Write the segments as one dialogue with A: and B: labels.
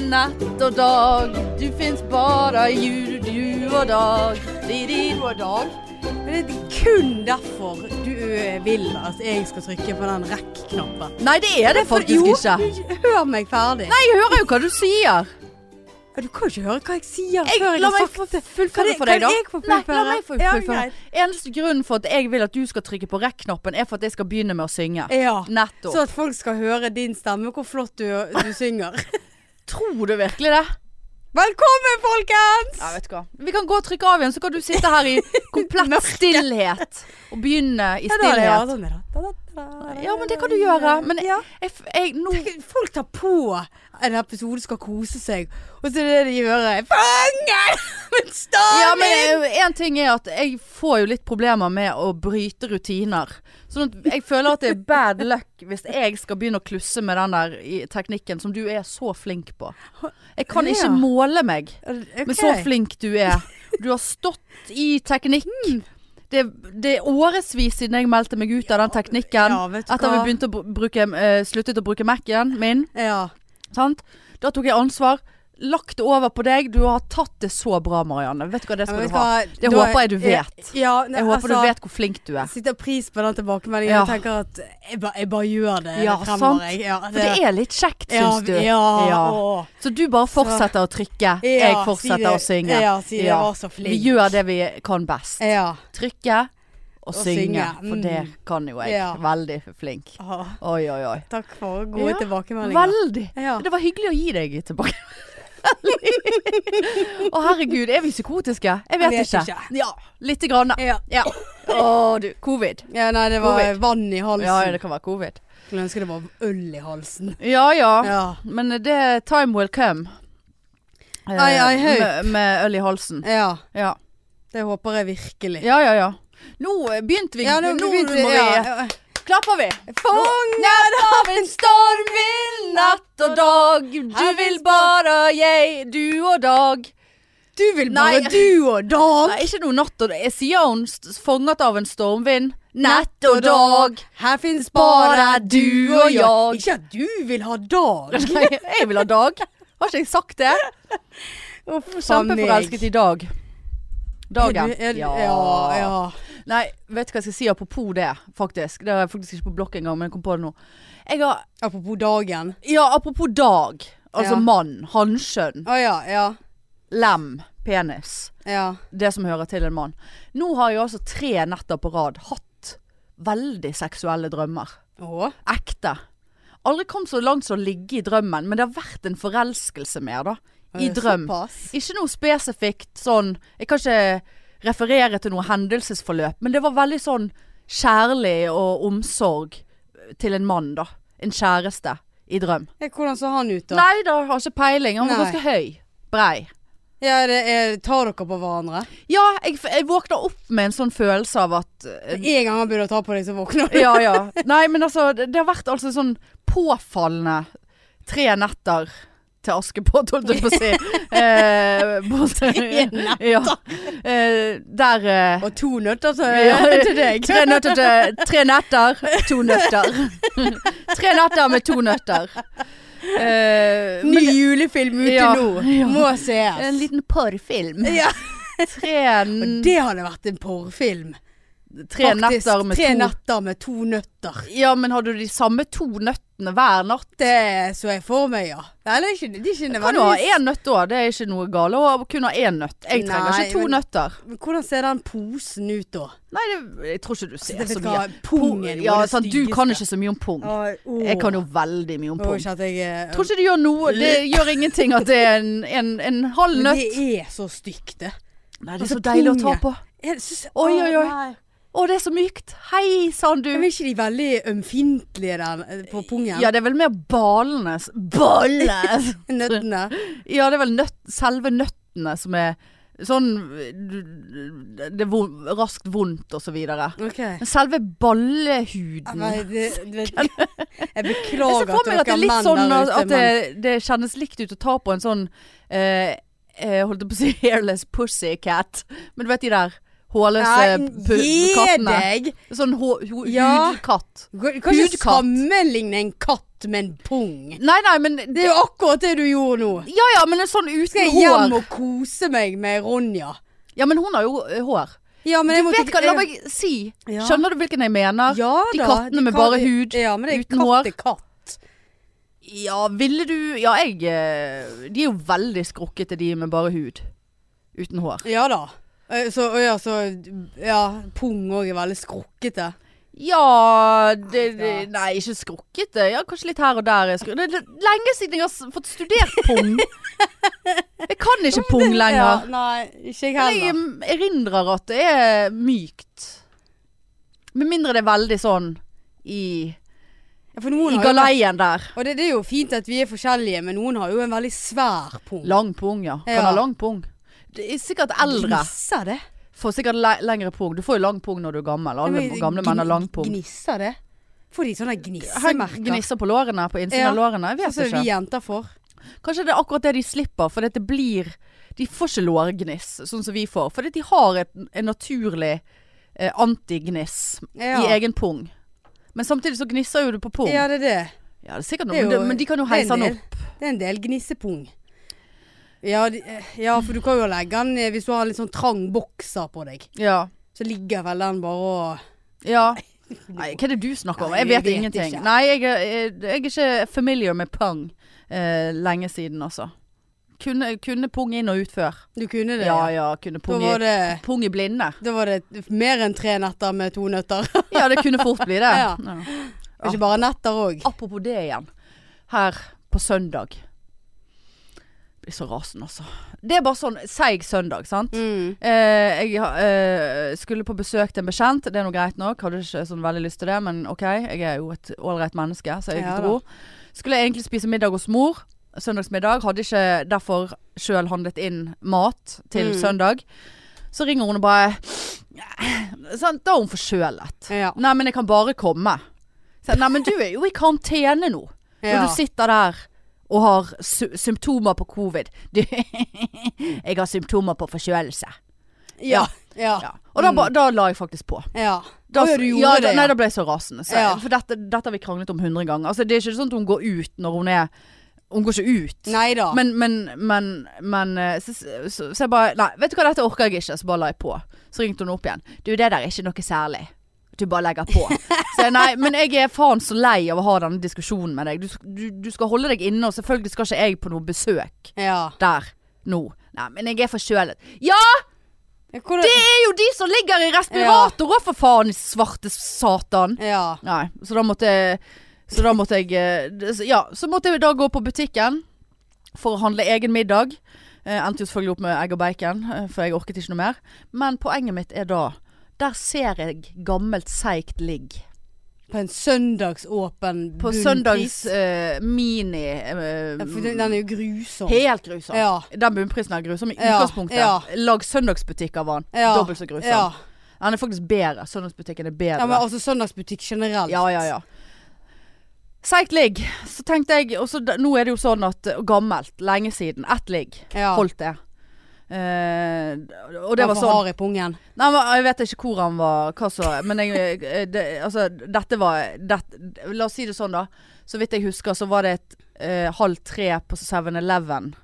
A: og dag. Du fins bare i jul, du og dag. Didi.
B: Du og Dag. Men det er kun derfor du eh, vil at jeg skal trykke på den rekk-knappen.
A: Nei, det er det faktisk
B: jo,
A: ikke.
B: Jo, hør meg ferdig.
A: Nei, jeg hører jo hva du sier.
B: Ja, Du kan jo ikke høre hva jeg sier
A: Jeg,
B: før jeg
A: la
B: har
A: meg
B: sagt
A: få
B: det. Kan
A: fullføre
B: jeg-
A: for deg,
B: kan
A: da.
B: jeg få
A: Nei, la
B: fullføre?
A: meg få
B: Ja,
A: fullføre.
B: greit.
A: Eneste grunnen for at jeg vil at du skal trykke på rekk-knappen, er for at jeg skal begynne med å synge.
B: Ja.
A: Nettopp.
B: Så at folk skal høre din stemme, hvor flott du, du synger.
A: tror du virkelig det?
B: Velkommen, folkens!
A: Ja, vet du hva. Vi kan gå og trykke av igjen, så kan du sitte her i komplett stillhet. Og begynne i
B: Ja, da er det
A: stillhet.
B: Adam med det.
A: Ja, men det kan du gjøre. Men
B: ja.
A: Jeg, f- jeg, nå
B: Folk tar på en episode skal kose seg, og så er det det de gjør. Fangen! Men stadig!
A: Ja, men én ting er at jeg får jo litt problemer med å bryte rutiner. Sånn at jeg føler at det er bad luck hvis jeg skal begynne å klusse med den der i- teknikken som du er så flink på. Jeg kan
B: Ja.
A: ikke måle meg
B: Ok.
A: med så flink du er. Du har stått i teknikk.
B: Hmm.
A: Det, det er årevis siden jeg meldte meg ut av den teknikken.
B: ja, vet du
A: etter vi
B: hva.
A: begynte å br- bruke, eh, sluttet å bruke Mac-en min.
B: Ja.
A: Sant? Da tok jeg ansvar. Lagt det over på deg. Du har tatt det så bra, Marianne. Vet du hva, det skal
B: Men vet
A: du ha.
B: hva?
A: Det
B: Da-
A: håper jeg du vet.
B: Ja, nei,
A: Jeg håper
B: altså,
A: du vet hvor flink du er.
B: Jeg setter pris på den tilbakemeldingen
A: Ja.
B: og tenker at jeg, ba, jeg bare gjør det
A: Ja,
B: fremover.
A: sant.
B: Jeg. Ja,
A: For det er litt kjekt,
B: ja,
A: syns du.
B: Ja.
A: Ja.
B: åh.
A: Så du bare fortsetter å trykke.
B: Ja,
A: Jeg
B: si
A: fortsetter
B: det-
A: å synge.
B: Ja, si det
A: Ja.
B: var så flink.
A: Vi gjør det vi kan best.
B: Ja.
A: Trykke og synge.
B: synge,
A: For det
B: mm.
A: kan jo jeg.
B: Ja.
A: Veldig flink.
B: Åh,
A: Oi, oi, oi.
B: takk for gode
A: Ja,
B: tilbakemeldinger.
A: Veldig.
B: Ja.
A: Det var hyggelig å gi deg tilbake. Å herregud, er vi psykotiske? Jeg vet, ikke.
B: Ja.
A: Lite grann. da.
B: Ja.
A: Ja. Å du, covid.
B: ja, nei, det var
A: Covid.
B: vann i halsen.
A: Ja, ja, det kan være covid.
B: Skulle ønske det var øl i halsen.
A: Ja ja.
B: Ja.
A: Men det time will come. Eh,
B: Ai, ai, høy.
A: med, med øl i halsen.
B: ja.
A: Ja.
B: Det håper jeg virkelig.
A: ja ja ja. Nå eh, begynte vi. nå Marie,
B: ja.
A: klapper vi.
B: Fanget av en storm vil
A: Natt og dag, du vil bare jeg, du og dag.
B: Du vil
A: Nei.
B: bare du og dag.
A: Nei, ikke noe natt og dag. Jeg sier hun s- fanget av en stormvind. Natt og dag.
B: Her fins
A: bare du og jeg.
B: Ikke at du vil ha dag.
A: Nei, jeg vil ha dag. Har ikke jeg sagt det? Kjempeforelsket i dag. Dagen.
B: Ja, ja. ja.
A: Nei, vet du hva jeg skal si apropos det, faktisk. Det har jeg faktisk ikke på blokk engang, men jeg kom på det nå. Jeg har,
B: Apropos dagen.
A: ja, apropos dag. Altså
B: Ja.
A: mann, hanskjønn,
B: Å ja, ja.
A: lem, penis.
B: Ja.
A: Det som hører til en mann. Nå har jeg altså tre netter på rad hatt veldig seksuelle drømmer.
B: Å?
A: Ekte. Aldri kom så langt som å ligge i drømmen, men det har vært en forelskelse mer, da. I
B: Eh,
A: drøm.
B: Såpass.
A: Ikke noe spesifikt sånn Jeg kan ikke referere til noe hendelsesforløp, men det var veldig sånn kjærlig og omsorg til en mann, da. En kjæreste i drøm.
B: Eh, Hvordan så han ut, da?
A: Nei da, har ikke peiling. Han var
B: Nei.
A: ganske høy. Brei.
B: Ja, det er, tar dere på hverandre?
A: Ja, jeg, f- jeg våkna opp med en sånn følelse av at eh,
B: En gang han begynner å ta på deg, så våkner du.
A: Ja ja. Nei, men altså, det, det har vært altså sånn påfallende tre netter til Askepott, holdt jeg på å si. Eh, borte- Ja. Eh, der eh,
B: Og to nøtter til,
A: Ja.
B: til deg.
A: Tre nøtter til Tre nøtter, to nøtter. tre nøtter med to nøtter. Eh,
B: Ny julefilm ute
A: Ja,
B: nå.
A: ja.
B: Må sees.
A: en liten porrfilm.
B: Ja.
A: Tre,
B: Og
A: n-
B: det hadde vært en porrfilm.
A: tre
B: Faktisk,
A: nøtter med
B: tre
A: to
B: netter med to nøtter.
A: Ja, men hadde du de samme to nøttene hver natt?
B: Det så jeg for meg, ja. Nei, det er ikke, det er ikke
A: Kan du ha
B: nødvendigvis-
A: én nøtt òg? Det er ikke noe gale å kun ha én nøtt. Jeg trenger
B: Nei,
A: ikke to
B: men-
A: nøtter.
B: Men Hvordan ser den posen ut, da?
A: Nei, det, jeg tror ikke du ser
B: Det
A: så
B: vet
A: mye.
B: hva, pung er noe
A: ja,
B: av det
A: sant, du kan
B: styggeste.
A: ikke så mye om pung.
B: Å,
A: Jeg kan jo veldig mye om
B: Å,
A: pung.
B: ikke at jeg eh,
A: Tror ikke det gjør noe. Det gjør ingenting at det er en, en, en halv
B: Men
A: nøtt.
B: det er så stygt, det.
A: Nei,
B: det er så deilig å ta
A: på.
B: Jeg synes-
A: Oi, oi, oi.
B: Å, nei.
A: Å, det er så mykt. Hei sann, du.
B: Men er ikke de veldig ømfintlige der eh, på pungen?
A: Ja, det er vel mer ballene s- Balle!
B: Nøttene.
A: ja, det er vel nøtt, selve nøttene som er sånn du- Det er vo- raskt vondt og så videre.
B: Ok.
A: Men selve
B: Ja,
A: ballehuden
B: men det- du vet- Jeg
A: Jeg
B: beklager
A: ser for meg
B: at
A: at det
B: dere
A: er
B: menn
A: litt sånn
B: der
A: at,
B: ute,
A: at det, det kjennes likt ut å ta på en sånn eh, eh, Holdt jeg på å si hairless pussycat. Men du vet de der hårløse pu- kattene.
B: deg!
A: Sånn hå- hu-
B: Ja.
A: hudkatt.
B: Du kan ikke
A: Hudkatt.
B: sammenligne en katt med en pung.
A: Nei, nei, men
B: Det er jo akkurat det du gjorde nå.
A: Ja ja, men en sånn uten
B: Skal jeg hjem
A: hår.
B: og kose meg med Ronja?
A: Ja, men hun har jo eh, hår.
B: Ja, men
A: Du
B: jeg måtte
A: vet hva,
B: ikke-
A: la
B: jeg-
A: meg si.
B: Ja.
A: Skjønner du hvilken jeg mener?
B: ja,
A: de
B: da,
A: kattene med bare hud,
B: ja, men det er
A: uten
B: katt
A: hår.
B: er katt.
A: Ja, ville du Ja, jeg eh, De er jo veldig skrukkete, de med bare hud. Uten hår.
B: Ja da. Eh, Så, og ja, så ja, pung òg er veldig skrukkete.
A: Ja det, det,
B: Ja.
A: Nei, ikke skrukkete. Ja, kanskje litt her og der. er skru- Det er lenge siden jeg har s- fått studert pung. Jeg kan ikke pung
B: Ja,
A: lenger.
B: nei, ikke jeg
A: Men jeg
B: heller.
A: erindrer at det er mykt. Med mindre det er veldig sånn i,
B: Ja, For noen
A: i
B: har jo
A: galeien der.
B: Og det, det er jo fint at vi er forskjellige, men noen har jo en veldig svær pung.
A: Lang pung, ja. Kan
B: Ja.
A: ha lang pung. Det er sikkert eldre
B: Gnisser det?
A: får sikkert le lengre pung. Du får jo lang pung når du er gammel. Alle
B: Ja, men
A: gamle menn har lang pung.
B: Gnisser det? Får de sånne gnissemerker?
A: Heng- Gnisser på lårene, på innsiden
B: Ja.
A: av lårene. Jeg vet
B: Sånn som
A: ikke.
B: vi jenter får.
A: Kanskje det er akkurat det de slipper, for det blir De får ikke lårgniss, sånn som vi får. Fordi de har et, en naturlig eh, antigniss
B: Ja.
A: i egen pung. Men samtidig så gnisser jo du på pung.
B: Ja,
A: Ja,
B: det er det.
A: det er sikkert noe,
B: Det er
A: men, det,
B: jo-
A: men de kan jo
B: det er en
A: heise den
B: del.
A: opp.
B: Det er en del gnissepung. Ja, de, eh, ja, for du kan jo legge den eh, hvis du har en litt sånn trang bokser på deg.
A: Ja.
B: Så ligger vel den bare og
A: ja. Nei, hva er det du snakker om?
B: Nei,
A: Jeg
B: jeg
A: vet,
B: vet
A: ingenting.
B: ikke.
A: Nei, jeg, er- jeg, jeg er ikke familiar med pung eh, lenge siden, altså. Kunne, kunne pung inn og ut før.
B: Du kunne det?
A: Ja ja, kunne
B: Da
A: pung i,
B: var det,
A: pung i blinde.
B: da var det mer enn tre netter med to nøtter.
A: Ja, det kunne fort bli det.
B: Ja.
A: Ja.
B: Og Ikke bare netter òg.
A: Apropos det igjen. Her på søndag. Jeg Blir så rasen, altså. Det er bare sånn seig søndag, sant?
B: Mm.
A: Eh, jeg ha- eh, skulle på besøk til en bekjent. Det er nå greit nok. Hadde ikke sånn veldig lyst til det, men OK. Jeg er jo et ålreit menneske, så jeg
B: Ja da.
A: dro. Skulle egentlig spise middag hos mor. Søndagsmiddag. Hadde ikke derfor sjøl handlet inn mat til
B: Mm.
A: søndag. Så ringer hun og bare sant? Da er hun forkjølet.
B: Ja.
A: Nei, men jeg kan bare komme. Så, jeg, Nei, men du er jo i karantene nå. Når
B: Ja.
A: du sitter der og har sy symptomer på covid. Du, jeg har symptomer på forkjølelse.
B: ja. ja.
A: Ja. Og da, ba- da la jeg faktisk på.
B: Ja.
A: Da,
B: Å, ja, du gjorde
A: ja,
B: det,
A: da,
B: ja.
A: nei, da ble jeg så rasende. Så,
B: Ja.
A: For dette, dette har vi kranglet om hundre ganger. Altså, det er ikke sånn at hun går ut når hun er Hun går ikke ut.
B: Nei da.
A: Men, men, men, men eh, så, så, så jeg bare Nei, vet du hva, dette orker jeg ikke. Så bare la jeg på. Så ringte hun opp igjen. Du, det der er ikke noe særlig. Du bare legger på. Så jeg, nei, men jeg er faen så lei av å ha denne diskusjonen med deg. Du, du, du skal holde deg inne, og selvfølgelig skal ikke jeg på noe besøk
B: Ja.
A: der nå. Nei, men jeg er forkjølet. Ja,
B: Hvordan,
A: det er jo de som ligger i respirator òg, for faen, svarte satan.
B: Ja.
A: Nei, så da måtte jeg Så da måtte jeg eh, det- så- Ja, så måtte jeg da gå på butikken For å handle egen middag eh, Endte jo selvfølgelig opp med egg og bacon eh, For jeg orket ikke noe mer Men poenget mitt er da Der ser jeg gammelt seikt ligg
B: På en søndagsåpen
A: På
B: bunnpris.
A: søndags eh, mini eh,
B: Ja, for den den er jo grusom.
A: Helt grusom
B: Ja.
A: Den bunnprisen er grusom i
B: Ja,
A: utgangspunktet
B: ja.
A: Lag søndagsbutikk av den
B: Ja,
A: Dobbelt så grusom
B: Ja.
A: Den er faktisk bedre Søndagsbutikken er bedre
B: ja, men altså søndagsbutikk generelt.
A: Ja, ja, ja. Seigt ligg. Så tenkte jeg og så da- Nå er det jo sånn at og Gammelt. Lenge siden. Ett ligg.
B: Ja.
A: Holdt det. Eh, og det var
B: Hvorfor
A: sånn
B: har jeg pungen?
A: Nei, men Jeg vet ikke hvor han var, hva så Men jeg, eh, det, altså, dette var det, La oss si det sånn, da. Så vidt jeg husker, så var det et eh, halv tre på 7-Eleven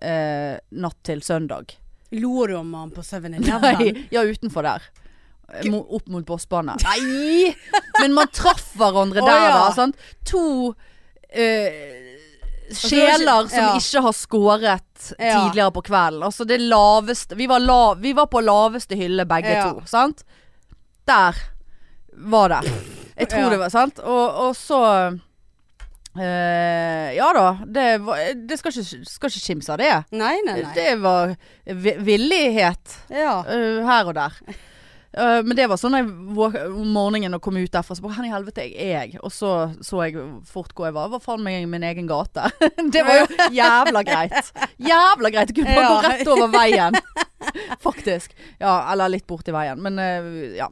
A: eh, natt til søndag.
B: Lo du om han på 7-Eleven?
A: Nei, ja, utenfor der. Mo- Opp mot bossbane. Nei! Men man traff hverandre
B: Å,
A: der,
B: ja.
A: da. Sant? To eh,
B: Altså,
A: sjeler som
B: Ja.
A: ikke har skåret
B: Ja.
A: tidligere på kvelden. Altså det laveste Vi var, lav, vi var på laveste hylle begge
B: Ja.
A: to, sant? Der var det. Jeg tror
B: Ja.
A: det var sant. Og, og så eh, Ja da. Det, var, det skal ikke, skal ikke skimse av det.
B: Nei, nei, nei.
A: Det var vi- villighet.
B: Ja.
A: Eh, her og der. Eh, men det var sånn jeg våk om morgenen og kom ut derfra, så bare Hvor i helvete er jeg? Og så så jeg fort hvor jeg var. Var faen meg i min egen gate. det var jo jævla greit. Jævla greit. Kunne bare gå
B: Ja.
A: rett over veien. Faktisk. Ja, eller litt borti veien. Men eh, ja.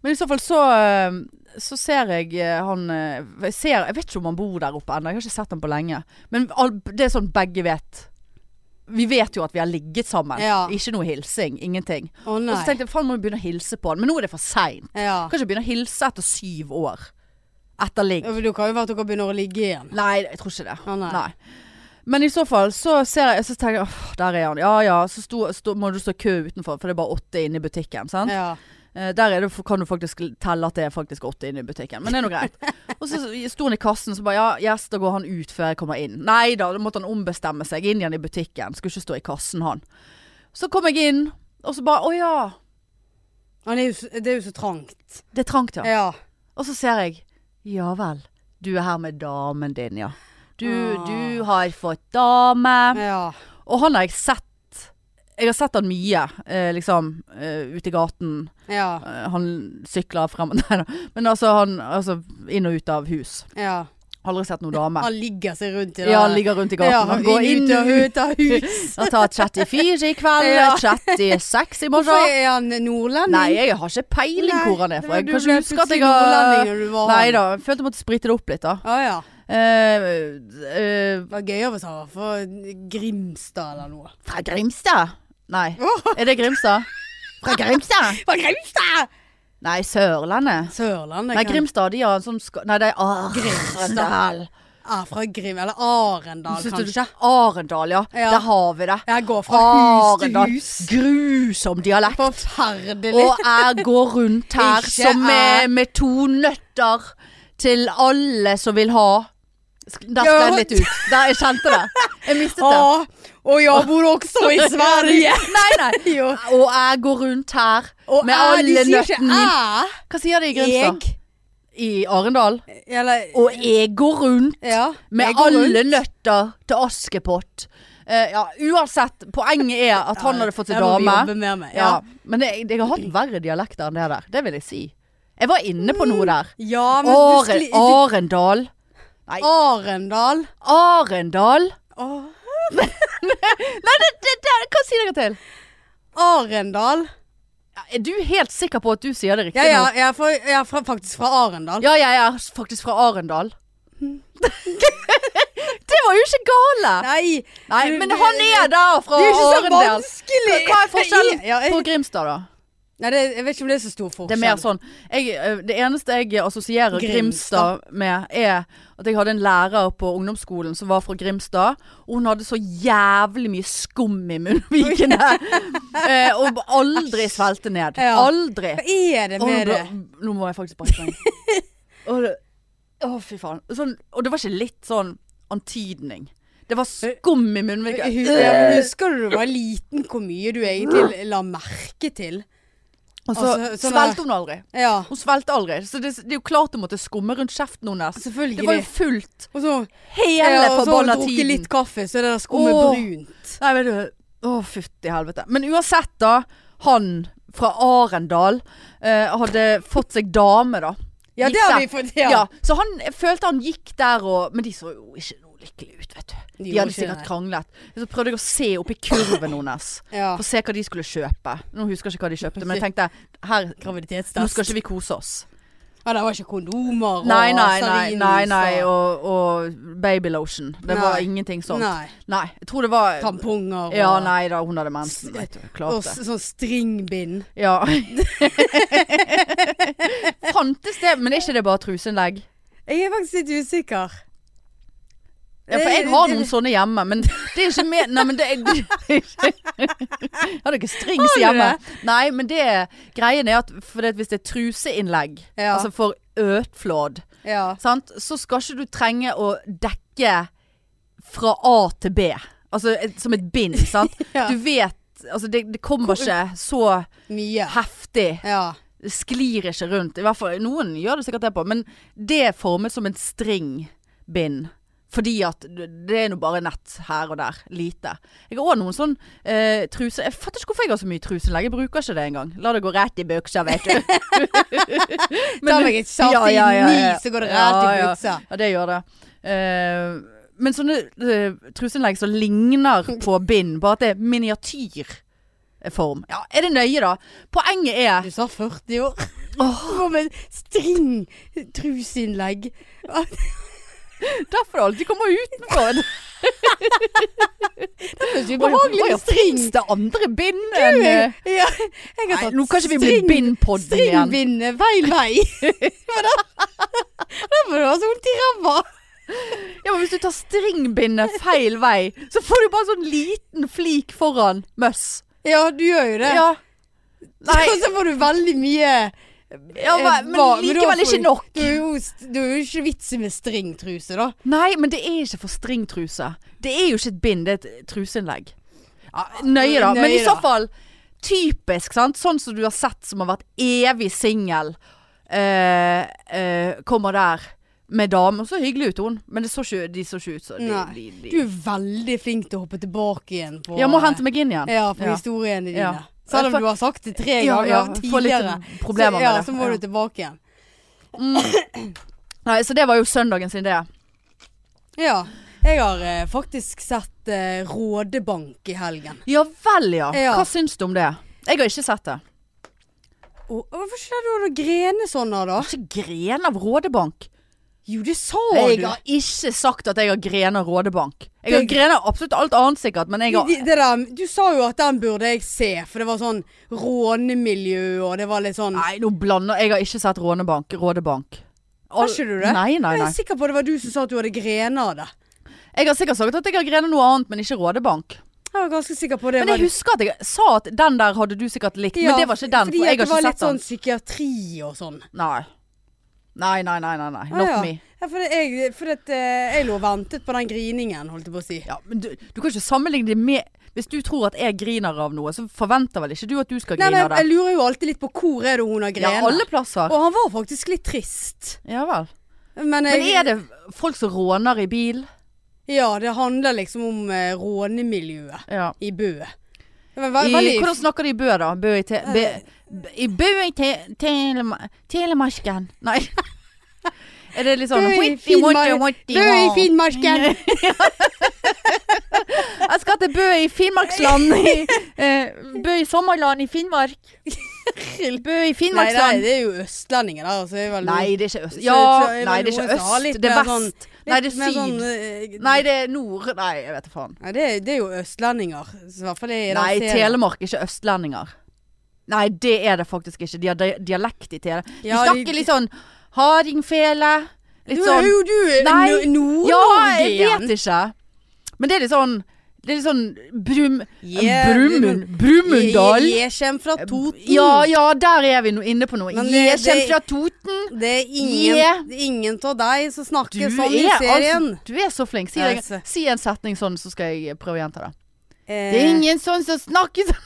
A: Men i så fall så eh, så ser jeg eh, han eh, jeg, ser, jeg vet ikke om han bor der oppe ennå, jeg har ikke sett han på lenge. Men all, det er sånn begge vet Vi vet jo at vi har ligget sammen.
B: Ja.
A: Ikke noe hilsing. Ingenting.
B: Å
A: Og
B: nei.
A: så tenkte jeg faen må vi begynne å hilse på han. Men nå er det for seint.
B: ja.
A: Kan ikke begynne å hilse etter syv år. Etter ligg.
B: Ja, for Det kan jo være at dere begynner å ligge igjen.
A: Nei, jeg tror ikke det.
B: Å, nei.
A: Men i så fall så ser jeg Så tenker jeg åh, der er han. Ja ja. Så sto, sto, må du stå i kø utenfor, for det er bare åtte inne i butikken. Sant?
B: Ja.
A: Eh, Der er det, kan du faktisk telle at det er faktisk åtte inne i butikken. Men det er nå greit. Og så sto han i kassen så bare ja, yes, da går han ut før jeg kommer inn. Nei da, da måtte han ombestemme seg. Inn igjen i butikken. Skulle ikke stå i kassen, han. Så kom jeg inn, og så bare å ja.
B: Han er jo, så- det er jo så trangt.
A: Det er trangt, ja.
B: Ja.
A: Og så ser jeg Ja vel, du er her med damen din, ja. Du,
B: Ah.
A: du har fått dame.
B: Ja.
A: Og han har jeg sett. Jeg har sett han mye, eh, liksom, eh, ute i gaten.
B: Ja.
A: Eh, han sykler frem Nei da. Men altså, han altså, inn og ut av hus.
B: ja.
A: Aldri sett noen dame.
B: Han ligger seg rundt i det.
A: Ja, han ligger rundt i gaten.
B: Ja,
A: han går inn
B: ut og
A: og ut.
B: ut av hus.
A: Han tar 34 i kveld,
B: Ja.
A: 36 i
B: Hvorfor
A: morgen.
B: er han nordlending?
A: Nei, jeg har ikke peiling
B: Nei,
A: hvor han er fra. Jeg
B: du
A: kan ikke
B: ble
A: huske at
B: plutselig
A: jeg har
B: nordlending når du var
A: Nei
B: han.
A: da. Jeg følte jeg måtte sprite det opp litt, da.
B: Å ja.
A: Eh, eh,
B: Det var gøy hvis han var fra Grimstad eller noe.
A: fra Grimstad? Nei. Er det Grimstad? Fra Grimstad?
B: Fra Grimstad!
A: Nei, Sørlandet.
B: Sørlandet.
A: Nei,
B: kan-
A: Grimstad, de har en sånn ska... Nei, det er Arendal.
B: Er fra Grim, eller Arendal
A: Synes du-
B: kanskje.
A: Arendal, ja.
B: Ja.
A: Der har vi det.
B: Jeg går fra hus til
A: Arendal.
B: hus.
A: Grusom dialekt.
B: Forferdelig.
A: Og jeg går rundt her
B: Ikke
A: som med,
B: jeg.
A: med to nøtter til alle som vil ha. Sk- Der skled jeg litt ut. Der, jeg kjente det. Jeg mistet det.
B: Ja, og jeg bor også i Sverige.
A: Nei, nei.
B: Jo.
A: Og jeg går rundt her
B: Og
A: med
B: æ,
A: alle
B: de sier
A: nøttene mine.
B: ikke æ.
A: Hva sier de i Grimstad? I Arendal.
B: Eller
A: Og jeg går rundt
B: ja, jeg
A: med
B: går
A: alle
B: rundt.
A: nøtter til Askepott. Eh, ja, uansett, poenget er at han hadde fått seg
B: Jeg må jobbe
A: dame.
B: mer med,
A: Ja,
B: ja.
A: men jeg, jeg har hatt verre dialekter enn det der. Det vil jeg si. Jeg var inne på noe der.
B: Mm. ja, men du
A: Are,
B: skli... du-
A: Arendal. Nei.
B: Arendal.
A: Arendal?
B: Åh.
A: Nei, det, det, det, hva sier dere til?
B: Arendal.
A: Ja, Er du helt sikker på at du sier det
B: Ja,
A: riktig
B: ja,
A: nå?
B: jeg er, fra, jeg er fra, faktisk fra Arendal.
A: Ja, jeg er faktisk fra Arendal. det var jo ikke gale!
B: Nei,
A: Nei,
B: du-
A: men han er der fra
B: det er jo ikke så
A: Arendal.
B: vanskelig.
A: Hva er forskjellen
B: Ja, jeg,
A: på Grimstad, da?
B: nei, det, jeg vet ikke om det er så stor forskjell.
A: Det er mer sånn jeg, ø, Det eneste jeg assosierer Grimstad.
B: Grimstad.
A: med, er at jeg hadde en lærer på ungdomsskolen som var fra Grimstad. Og hun hadde så jævlig mye skum i munnvikene. eh, og aldri svelte ned.
B: Ja.
A: Aldri.
B: Hva er det
A: Å, nå ble-
B: med det?
A: eh, Nå må jeg faktisk bare sprenge. Å, det- Å, fy faen. Sånn, og det var ikke litt sånn antydning. Det var skum i
B: Hu-
A: munnvikene.
B: Eh, ja, men Husker du da du var liten hvor mye du egentlig la merke til?
A: Og så
B: altså, sånn der-
A: svelte hun aldri.
B: Ja,
A: Hun svelte aldri. Så det, det er jo klart det måtte skumme rundt kjeften
B: Altså,
A: hennes. Det var jo
B: selvfølgelig.
A: fullt
B: Og så
A: hele
B: og så har du
A: forbanna
B: drukket
A: tiden.
B: litt kaffe, så er det der skummet
A: Åh.
B: brunt.
A: Nei, vet du. Å, fytti helvete. Men uansett, da. Han fra Arendal eh, hadde fått seg dame, da.
B: Ja,
A: Gikk
B: det har
A: der-
B: vi fått.
A: Ja.
B: Ja.
A: Så han jeg følte han gikk der og Men de så jo ikke noe lykkelig ut, vet du.
B: De
A: De,
B: gjorde
A: hadde
B: ikke
A: sikkert
B: det.
A: kranglet. Så prøvde jeg å se oppi kurven hennes.
B: Ja.
A: For å se hva de skulle kjøpe. Nå husker jeg ikke hva de kjøpte, men jeg tenkte her Nå
B: Graviditetstest.
A: skal ikke vi kose oss.
B: Ja, det var ikke kondomer og
A: Nei, nei, nei.
B: stearinlys
A: nei, nei
B: og- sånn.
A: og, og babylotion. Det var
B: Nei.
A: ingenting sånt.
B: Nei.
A: Nei, jeg tror det var
B: Tamponger og,
A: Ja, nei da, hun hadde mensen. Vet du,
B: og
A: klart
B: s-
A: det.
B: sånn stringbind.
A: Ja. Fantes det, men er ikke det bare truseinnlegg?
B: Jeg er faktisk litt usikker.
A: Ja, for
B: Eh,
A: jeg har noen sånne hjemme, men det er ikke med Nei, men det er Jeg har ikke strings
B: du
A: hjemme.
B: det?
A: Nei, men det Greien er at for det, at hvis det er truseinnlegg,
B: Ja.
A: altså for øtflådd,
B: Ja.
A: sant, så skal ikke du trenge å dekke fra A til B. Altså et, som et bind, sant.
B: Ja.
A: Du vet Altså, det, det kommer ikke så
B: Mye.
A: heftig.
B: Ja.
A: Det sklir ikke rundt. I hvert fall, noen gjør det sikkert det på, men det er formet som en stringbind. Fordi at det er nå bare nett her og der. Lite. Jeg har òg noen sånn eh, truse Jeg fatter ikke hvorfor jeg har så mye truselegg. Jeg bruker ikke det engang. La det gå rett i buksa, vet du.
B: Men, Tar meg et saft
A: Ja, ja, ja, ja.
B: i ni, så går det
A: Ja,
B: rett i
A: ja.
B: buksa.
A: Ja, det gjør det. Eh, men sånne uh, truseanlegg som ligner på bind, bare at det er miniatyrform. Ja, er det nøye, da? Poenget er
B: Du sa 40 år. Hva med string truseinnlegg?
A: Derfor det alltid kommer utenfor.
B: Vi
A: Behageligvis fins det andre bind enn eh,
B: Ja, jeg har
A: Nei,
B: tatt
A: nå kan ikke vi bli
B: string-
A: bindpodden igjen.
B: Stringbind feil vei. For da, da får du ha så vondt i ræva.
A: Ja, men Hvis du tar stringbindet feil vei, så får du bare sånn liten flik foran møss.
B: Ja, du gjør jo det.
A: Ja, nei.
B: Og så får du veldig mye
A: ja,
B: eh,
A: men
B: va- da
A: likevel
B: får
A: ikke
B: du-
A: nok.
B: Det er jo, det er jo ikke vits i med stringtruse, da.
A: Nei, men det er ikke for stringtruse. Det er jo ikke et bind, det er et truseinnlegg. Ja, nøye, da. Men i
B: Nøye,
A: så
B: da.
A: fall typisk, sant. Sånn som du har sett som har vært evig singel. Eh, eh, kommer der med dame, og så hyggelig ut hun, men det så ikke, de så ikke ut så de,
B: Nei.
A: de, de.
B: Du er veldig flink til å hoppe tilbake igjen på
A: Ja, må hente meg inn igjen.
B: Ja, på
A: Ja.
B: historiene dine.
A: Ja.
B: Selv om
A: For-
B: du har sagt det tre
A: Ja,
B: ganger
A: ja, få litt
B: tidligere.
A: problemer
B: så, ja,
A: med det.
B: Så må
A: Ja.
B: du tilbake igjen.
A: Nei, så det var jo søndagen sin, det.
B: Ja. Jeg har eh, faktisk sett eh, Rådebank i helgen.
A: Ja vel, ja.
B: Ja.
A: Hva syns du om det? Jeg har ikke sett det.
B: Og, og hvorfor skjedde du noen grene sånn da?
A: Har ikke gren av Rådebank.
B: Jo, det sa
A: Jeg
B: du.
A: har ikke sagt at jeg har grene av Rådebank. Jeg har
B: Det-
A: grene av absolutt alt annet sikkert, men jeg har
B: Det, det der, du sa jo at den burde jeg se, for det var sånn rånemiljø, og det var litt sånn
A: Nei, nå blander Jeg har ikke sett Rånebank. Rådebank.
B: Har ikke du det?
A: Nei, nei,
B: Jeg
A: nei.
B: er sikker på det var du som sa at du hadde grener av det.
A: Jeg har sikkert sagt at jeg har grene av noe annet, men ikke Rådebank.
B: Jeg var ganske sikker på det.
A: Men
B: var
A: jeg
B: du.
A: husker at jeg sa at den der hadde du sikkert likt,
B: Ja,
A: men det var ikke den.
B: fordi
A: For
B: at
A: jeg har
B: det var
A: ikke
B: litt
A: sett den.
B: sånn psykiatri og sånn.
A: Nei. Nei, nei, nei, nei. nei.
B: Ah,
A: Not
B: ja.
A: me.
B: Ja, for det, jeg, for det, jeg lå og ventet på den griningen, holdt jeg på å si.
A: Ja, men du, du kan ikke sammenligne det med Hvis du tror at jeg griner av noe, så forventer vel ikke du at du skal
B: Nei,
A: grine
B: men
A: av
B: jeg
A: det?
B: lurer jo alltid litt på hvor er det hun har
A: Ja,
B: grener.
A: alle plasser.
B: Og han var faktisk litt trist.
A: Ja vel.
B: Men,
A: Men
B: jeg-
A: er det folk som råner i bil?
B: Ja, det handler liksom om eh, rånemiljøet
A: Ja.
B: i Bø. Det var
A: I,
B: ve- veldig-
A: hvordan snakker de i Bø, da? Bø i, te, be,
B: Eh.
A: i, Bø i te, telema, Telemarken Nei. Er det litt sånn
B: Bø i
A: whitty, whitty,
B: Finnmark-
A: whitty,
B: Bø i
A: wow.
B: Finnmarken!
A: Jeg skal til Bø i Finnmarksland. i, eh, Bø i sommerland i Finnmark. Bø i
B: Nei, nei,
A: Finnmarksland.
B: det er jo østlendinger, da. Så er det vel
A: Nei, det er ikke øst.
B: Så-
A: Ja,
B: så er det
A: nei,
B: vel
A: det er
B: noen som
A: ikke
B: har
A: øst.
B: litt
A: Det er
B: mer sånn-
A: vest. Nei, det
B: litt
A: er
B: mer
A: syd.
B: sånn, eh,
A: Nei, det er nord. Nei, jeg vet da faen.
B: Nei, det, er- det er jo østlendinger. Så i hvert fall det er i den
A: Nei,
B: serien.
A: Telemark er ikke østlendinger. Nei, det er det faktisk ikke. De har dia- dialekt i Telemark. De
B: Ja, de-
A: snakker litt sånn hardingfele. Litt
B: Du
A: sånn
B: er jo du
A: Nei.
B: Nord- Nord-Norge
A: Ja, jeg vet
B: igjen.
A: ikke. Men det er litt sånn Det er litt sånn Brum...
B: Yeah,
A: Brumund. Brumunddal.
B: Jeg, jeg kommer fra Toten.
A: Ja, ja, der er vi nå inne på noe.
B: Men
A: Jeg
B: det-
A: kommer
B: det-
A: fra Toten.
B: Det er ingen,
A: Yeah.
B: det er ingen av deg som
A: Du
B: snakker
A: er,
B: sånn i serien.
A: altså, du er så flink. Si,
B: Jeg
A: deg-
B: ser.
A: si en setning sånn, så skal jeg prøve å gjenta det.
B: Eh,
A: Det er ingen sånn som snakker sånn.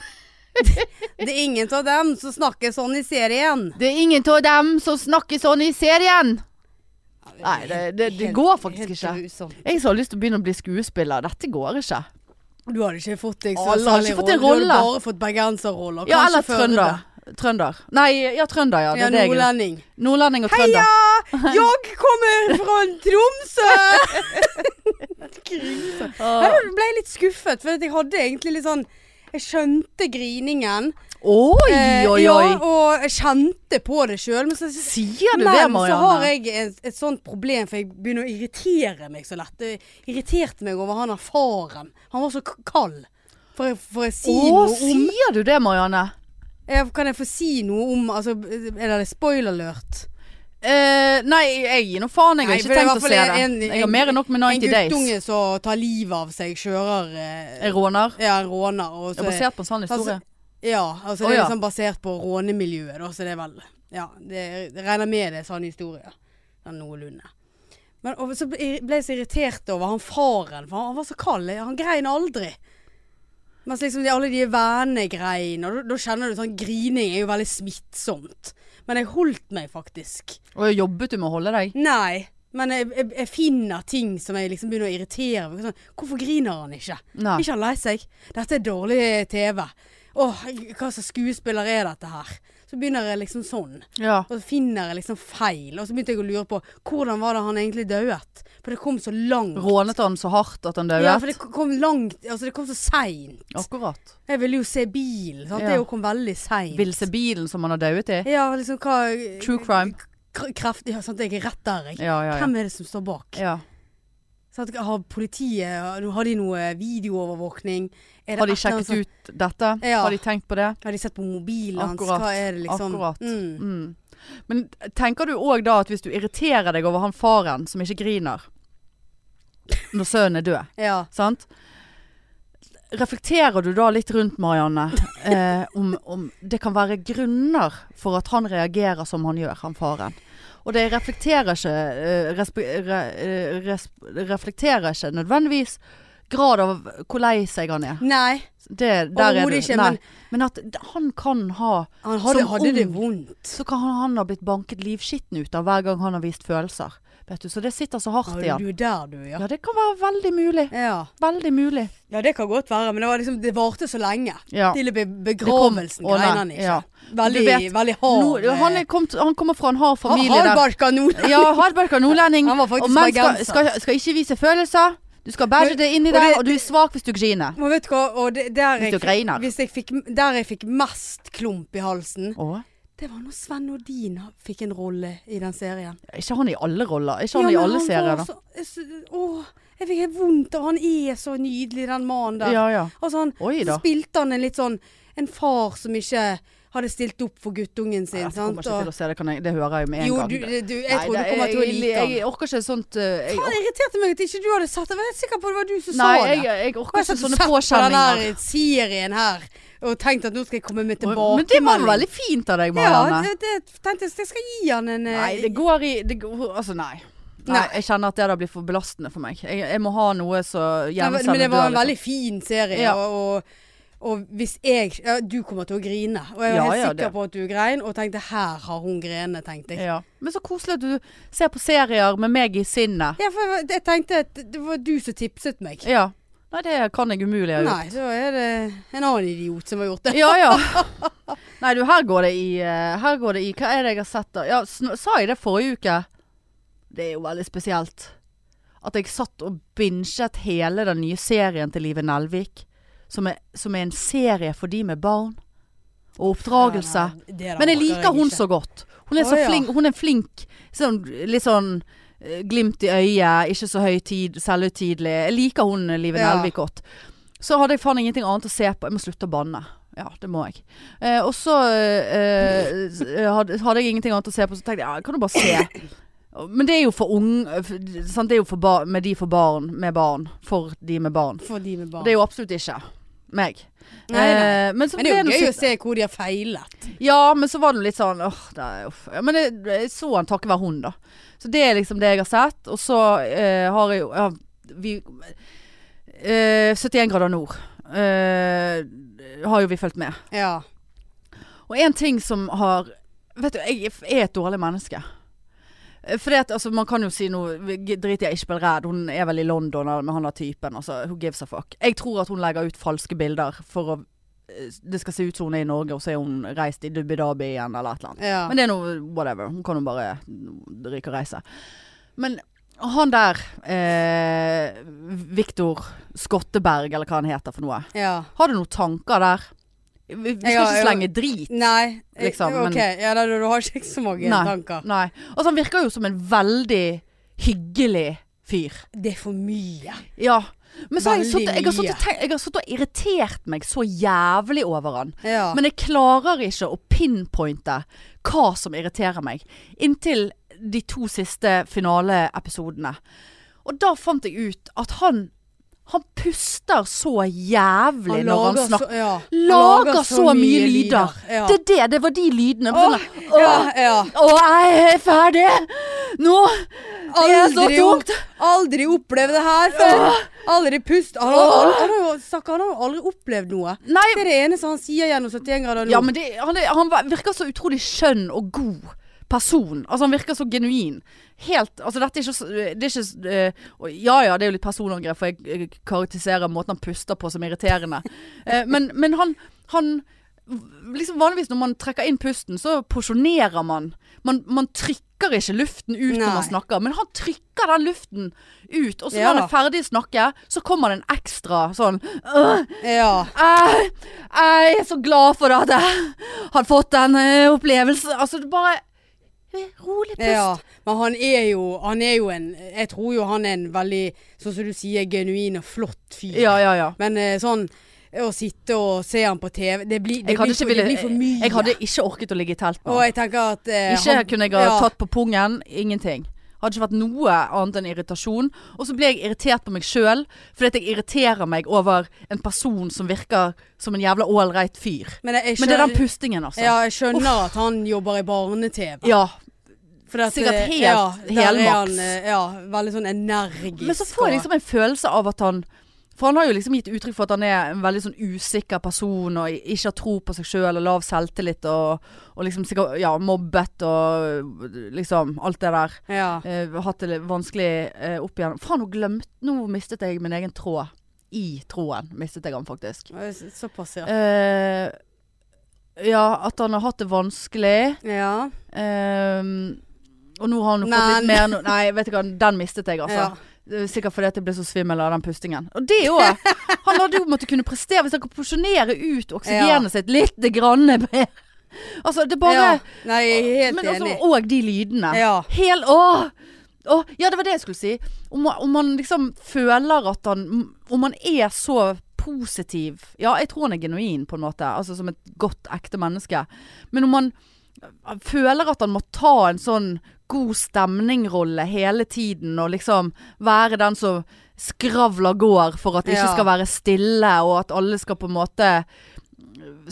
B: det er ingen av dem som snakker sånn i serien.
A: Det er ingen av dem som snakker sånn i serien. Nei, det, det, det
B: Helt-
A: går faktisk
B: helt
A: ikke.
B: grusomt.
A: Jeg som har lyst til å begynne å bli skuespiller. Dette går ikke.
B: Du hadde ikke fått deg så
A: Alle har ikke
B: særlig
A: fått en
B: Du hadde
A: rolle.
B: bare fått bergenserroller.
A: Ja,
B: kanskje
A: eller
B: Førde.
A: trønder. Trønder. Nei, ja, trønder, ja. Det
B: Ja,
A: er det jeg
B: nordlending.
A: Nordlending og trønder.
B: Heia! Jeg kommer fra Tromsø! Krise.
A: Åh.
B: Her ble jeg litt skuffet, for at jeg hadde egentlig litt sånn Jeg skjønte griningen.
A: Oi,
B: Eh,
A: oi,
B: Ja,
A: oi.
B: og jeg kjente på det sjøl. Men, så,
A: Sier du
B: men
A: det,
B: så har
A: Marianne?
B: jeg et, et sånt problem, for jeg begynner å irritere meg så lett. Det irriterte meg over han der faren. Han var så k- kald. Får jeg, får jeg si
A: Å,
B: noe om
A: sier du det, Marianne?
B: Eh, Kan jeg få si noe om altså, Er det spoiler alert?
A: Eh, nei, jeg gir nå faen. Jeg har
B: Nei, for
A: ikke
B: det er i
A: tenkt
B: hvert
A: å se
B: fall
A: det.
B: en-
A: Jeg har
B: en-
A: mer enn nok med 90
B: en
A: Days.
B: guttunge som tar livet av seg, kjører eh,
A: Jeg råner.
B: Ja, en råner. Og
A: Det er
B: så
A: basert på en sann
B: Altså,
A: historie.
B: ja, altså
A: Å,
B: det er
A: ja.
B: liksom basert på rånemiljøet, da, så det er vel Ja, det, jeg regner med det er sånn historie. Sånn noenlunde. Men og så ble ble jeg så irritert over han faren, for han, han var så kald. Han grein aldri. Mens liksom de, alle de vennene grein, og da- da kjenner du sånn grining er jo veldig smittsomt. Men jeg holdt meg faktisk.
A: Og jobbet du med å holde deg?
B: Nei. Men jeg, jeg, jeg finner ting som jeg liksom begynner å irritere meg. Sånn, hvorfor griner han ikke?
A: Nei.
B: Ikke han lei seg? Dette er dårlig TV. Åh, hva slags skuespiller er dette her? Så begynner jeg liksom sånn.
A: Ja.
B: Og så finner jeg liksom feil. Og så begynte jeg å lure på hvordan var det han egentlig døet? For det kom så langt.
A: Rånet han så hardt at han døde?
B: Ja, for det kom langt. Altså, det kom så seint.
A: Akkurat.
B: Jeg ville jo se bilen. sant?
A: Ja.
B: Det jo kom veldig seint.
A: Vilse bilen som han har dødd i?
B: Ja, liksom hva
A: True crime.
B: K- Kreft Ja, sant, jeg er rett der, jeg.
A: Ja, ja, ja.
B: Hvem er det som står bak?
A: ja.
B: Så at, har politiet Har de noe videoovervåkning? Er det
A: Har de
B: et eller
A: sjekket
B: annet som-
A: ut dette?
B: Ja.
A: Har de tenkt på det?
B: Har de sett på mobilen hans?
A: Akkurat,
B: Hva er det liksom?
A: akkurat.
B: Mm.
A: Mm. Men tenker du òg da at hvis du irriterer deg over han faren som ikke griner når sønnen er død,
B: Ja.
A: sant? Reflekterer du da litt rundt, Marianne, eh, om, om det kan være grunner for at han reagerer som han gjør, han faren? Og det reflekterer ikke, eh, respe, re, eh, res, reflekterer ikke nødvendigvis grad av hvor lei seg han er.
B: Nei.
A: Det, der er du.
B: Overhodet ikke,
A: Nei.
B: men-
A: men at han kan ha
B: Han hadde,
A: Som
B: hadde det
A: ung.
B: vondt.
A: så kan han, han ha blitt banket livskitten ut av hver gang han har vist følelser. Vet du, Så det sitter så hardt i
B: Ja,
A: han.
B: du er der, du, ja.
A: Ja, det kan være veldig mulig.
B: ja.
A: Veldig mulig.
B: Ja, det kan godt være, men det, var liksom, det varte så lenge.
A: Ja.
B: Til be begravelsen
A: Det kom- å, nei,
B: greide han ikke.
A: ja.
B: Veldig,
A: Du vet,
B: veldig hard.
A: Nå, han, er kommet, han kommer fra en hard
B: han,
A: familie der.
B: hardbarka nå.
A: Ja, hardbarka nordlending.
B: Han var
A: Og
B: faktisk
A: menn skal,
B: bergenser.
A: skal, skal ikke vise følelser. Du skal bære
B: Men-
A: det inni
B: og
A: der,
B: det-
A: og du er svak hvis du griner.
B: Men vet du hva, og det, der,
A: Hvis du
B: jeg,
A: greiner.
B: fikk- hvis jeg fikk, der jeg fikk mest klump i halsen,
A: Å,
B: det var når Sven Nordin fikk en rolle i den serien.
A: er ikke han i alle roller? Er ikke
B: Ja,
A: han
B: men
A: Sånn
B: sånn
A: i alle serier,
B: var
A: da?
B: så- jeg sy- Åh, jeg fikk helt vondt, og han er så nydelig, den mannen der.
A: Ja, ja.
B: Altså han,
A: Oi
B: så
A: da.
B: spilte han en litt sånn, en far som ikke hadde stilt opp for guttungen sin,
A: Jeg
B: sant?
A: kommer ikke til
B: Og-
A: å se det, kan jeg, det hører jeg jo med en
B: Jo,
A: gang.
B: du, du, jeg
A: Nei,
B: tror du
A: det-
B: kommer til å
A: jeg-
B: like
A: Jeg
B: han.
A: orker ikke sånt eh, jeg,
B: Faen, det irriterte meg at ikke du hadde sett det. Jeg var helt sikker på det var du som
A: Nei,
B: sa sånn. det.
A: jeg, jeg orker
B: har
A: ikke
B: sett
A: sånne
B: sett på den
A: påkjenninger.
B: der serien her og tenkt at nå skal jeg komme med tilbake.
A: Men det var jo veldig fint av deg,
B: Ja,
A: Marianne.
B: det, det tenkte jeg jeg skal gi han en eh,
A: nei, det går i det går, Altså, nei. nei.
B: Nei.
A: Jeg kjenner at det der blir for belastende for meg. Jeg, jeg må ha noe som
B: men-
A: gjensender
B: Men det var en
A: døren,
B: veldig fin serie.
A: Ja.
B: Og, og hvis jeg ja, Du kommer til å grine. Og jeg var
A: Ja,
B: helt
A: ja,
B: sikker
A: det.
B: på at du grein, og tenkte 'her har hun grene',
A: liksom.
B: tenkte jeg.
A: Ja. Men så koselig at du ser på serier med meg i sinnet.
B: Ja, for jeg var- jeg tenkte at det var du som tipset meg.
A: Ja. Nei, det kan jeg umulig ha gjort.
B: Nei, så er det en annen idiot som har gjort det.
A: Ja, ja. Nei, du, her går det i eh, Her går det i Hva er det jeg har sett, da? Ja, sn sa jeg det forrige uke? Det er jo veldig spesielt. At jeg satt og binget hele den nye serien til Live Nelvik. Som er, som er en serie for de med barn. Og oppdragelse.
B: Ja, nei, det der
A: Men jeg
B: orker
A: liker hun
B: ikke.
A: så godt. Hun er, så
B: Å, ja.
A: flink, hun er flink. Sånn, litt sånn eh, glimt i øyet, ikke så høytid, selvhøytidelig. Jeg liker hun eh, Live
B: Ja.
A: Nelvik godt. Så hadde jeg faen ingenting annet å se på. Jeg må slutte å banne. Ja, det må jeg. Eh, og så eh, eh, hadde, hadde jeg ingenting annet å se på, så tenkte jeg ja, kan du bare se. Men det er jo for unge sant? Det er jo for bar med de for barn, med barn. For de med barn.
B: For de med barn.
A: Det er jo absolutt ikke meg.
B: Nei, nei.
A: Eh, men, så
B: Men det
A: ble
B: er jo
A: nå
B: gøy å
A: sitt-
B: se hvor de har feilet.
A: ja, men så var det jo litt sånn åh, det er, uff. Ja, Men jeg, jeg så han takket være hun, da. Så det er liksom det jeg har sett. Og så eh, har jeg jo ja, vi, eh, 71 grader nord eh, har jo vi fulgt med.
B: Ja.
A: Og en ting som har Vet du, jeg er et dårlig menneske. For det at, altså, man kan jo si noe Drit i Ishbel Redd, hun er vel i London med han der typen. Altså, who gives a fuck. Jeg tror at hun legger ut falske bilder for å eh, Det skal se ut som hun er i Norge, og så er hun reist i Dubbi Dabi igjen, eller et eller annet.
B: ja.
A: Men det er noe whatever. Hun kan jo bare ryke og reise. Men han der, eh, Viktor Skotteberg, eller hva han heter for noe.
B: ja.
A: Har du noen tanker der? Vi, vi skal
B: Ja,
A: ikke
B: ja.
A: slenge drit.
B: Nei. eh,
A: Liksom, men-
B: ok, ja, da, du, du har ikke så mange
A: Nei.
B: tanker.
A: Nei. Altså, han virker jo som en veldig hyggelig fyr.
B: Det er for mye.
A: Ja. Men så har jeg
B: Veldig
A: sittet- jeg har
B: mye.
A: sittet og tenkt- jeg har sittet og irritert meg så jævlig over han.
B: Ja.
A: Men jeg klarer ikke å pinpointe hva som irriterer meg. Inntil de to siste finaleepisodene. Og da fant jeg ut at han Han puster så jævlig når han
B: lager
A: snakker.
B: så- ja. Han
A: Lager så mye lyder.
B: Ja.
A: Det er det. Det var de lydene. Sånn, Åh,
B: Åh, ja, ja.
A: Åh, jeg er ferdig! Nå Det er så
B: Aldri, opp-
A: tungt.
B: aldri opplevd det her før. Aldri pust. Han har, han, han, har, jo sagt- han har jo aldri opplevd noe.
A: Nei,
B: Det er det eneste han sier gjennom 71 grader nå.
A: Ja, men det, han, er, han var- virker så utrolig skjønn og god person. Altså Han virker så genuin. Helt Altså, dette er ikke så Det er ikke s- eh, og Ja ja, det er jo litt personangrep, for jeg eh, karakteriserer måten han puster på som irriterende. Eh, men, men han, han Liksom Vanligvis når man trekker inn pusten, så porsjonerer man. Man, man trykker ikke luften ut når
B: Nei.
A: man snakker, men han trykker den luften ut. Og så
B: Ja
A: når han
B: da.
A: er ferdig å snakke, så kommer det en ekstra sånn øh,
B: ja.
A: jeg, jeg er så glad for at jeg har fått den eh, opplevelsen. Altså, det bare Rolig pust.
B: Ja, men han er, jo, han er jo en Jeg tror jo han er en veldig, sånn som du sier, genuin og flott fyr.
A: Ja, ja, ja.
B: Men eh, sånn å sitte og se han på TV Det blir, det
A: Jeg hadde,
B: blir,
A: ikke
B: for, det
A: ville,
B: blir for mye.
A: jeg hadde ikke orket å ligge i telt med
B: og
A: han.
B: jeg tenker at eh,
A: Ikke
B: han-
A: kunne jeg ha
B: ja,
A: tatt på pungen. Ingenting. Hadde ikke vært noe annet enn irritasjon. Og så ble jeg irritert på meg sjøl, fordi at jeg irriterer meg over en person som virker som en jævla ålreit fyr.
B: Men, jeg, jeg
A: Men det er den
B: skjønner-
A: pustingen, altså.
B: Ja, jeg skjønner at han jobber i barne-TV.
A: Ja.
B: For at,
A: sikkert
B: eh,
A: helt-
B: der er
A: helmaks.
B: han, eh, Ja, veldig sånn energisk.
A: Men så får jeg
B: og-
A: liksom en følelse av at han For han har jo liksom gitt uttrykk for at han er en veldig sånn usikker person og ikke har tro på seg sjøl og lav selvtillit og, og liksom sikkert ja, mobbet og liksom alt det der.
B: ja.
A: Eh, hatt det litt vanskelig eh, opp igjen. Faen, nå glemte Nå mistet jeg min egen tråd. I tråden mistet jeg han faktisk.
B: Så- Såpass, ja.
A: Eh, ja, at han har hatt det vanskelig.
B: Ja.
A: Ehm, og nå har han jo fått
B: Men-
A: litt mer nå- Nei, vet du hva, den mistet jeg, altså.
B: Ja.
A: Det er Sikkert fordi at jeg ble så svimmel av den pustingen. Og det òg! Han hadde jo måttet kunne prestere hvis han kunne porsjonere ut oksygenet sitt lite grann mer. Altså, det er bare
B: ja. Nei, jeg er helt
A: Men
B: enig.
A: altså, og de lydene.
B: Ja.
A: Hel Åh! Åh, ja, det var det jeg skulle si. Om, man- om man liksom føler at han Om han er så positiv Ja, jeg tror han er genuin, på en måte. Altså som et godt, ekte menneske. Men om han føler at han må ta en sånn god stemningrolle hele tiden, og liksom være den som skravler går for at det ikke
B: Ja.
A: skal være stille, og at alle skal på en måte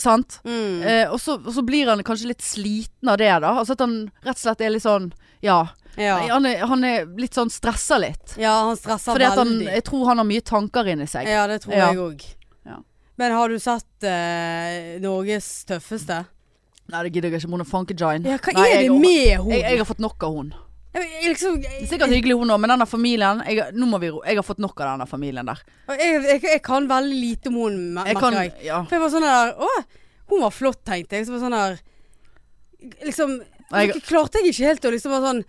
A: Sant?
B: Mm.
A: Eh, og, så, og så blir han kanskje litt sliten av det, da. Altså at han rett og slett er litt sånn Ja. Nei,
B: Ja.
A: Han, er, han er litt sånn stressa litt.
B: ja, han stresser
A: Fordi at han,
B: veldig.
A: jeg tror han har mye tanker inni seg.
B: Ja, det tror
A: Ja.
B: jeg òg.
A: Ja.
B: Men har du sett eh, Norges tøffeste?
A: Nei, det gidder jeg ikke. Mona Funkygine.
B: Ja, hva
A: Nei,
B: er
A: jeg,
B: det med henne?
A: jeg, jeg har fått nok av hun.
B: Jeg- jeg liksom,
A: Det
B: jeg,
A: er Sikkert hyggelig hun òg, men denne familien jeg, nå må vi, ro- jeg har fått nok av denne familien der.
B: jeg, jeg, jeg kan veldig lite om henne, mer-
A: Jeg
B: merker
A: kan,
B: jeg.
A: ja.
B: For jeg var sånn der Å, hun var flott, tenkte jeg. Så var jeg sånn der Liksom
A: Nei, jeg-
B: jeg, Klarte jeg ikke helt å liksom være sånn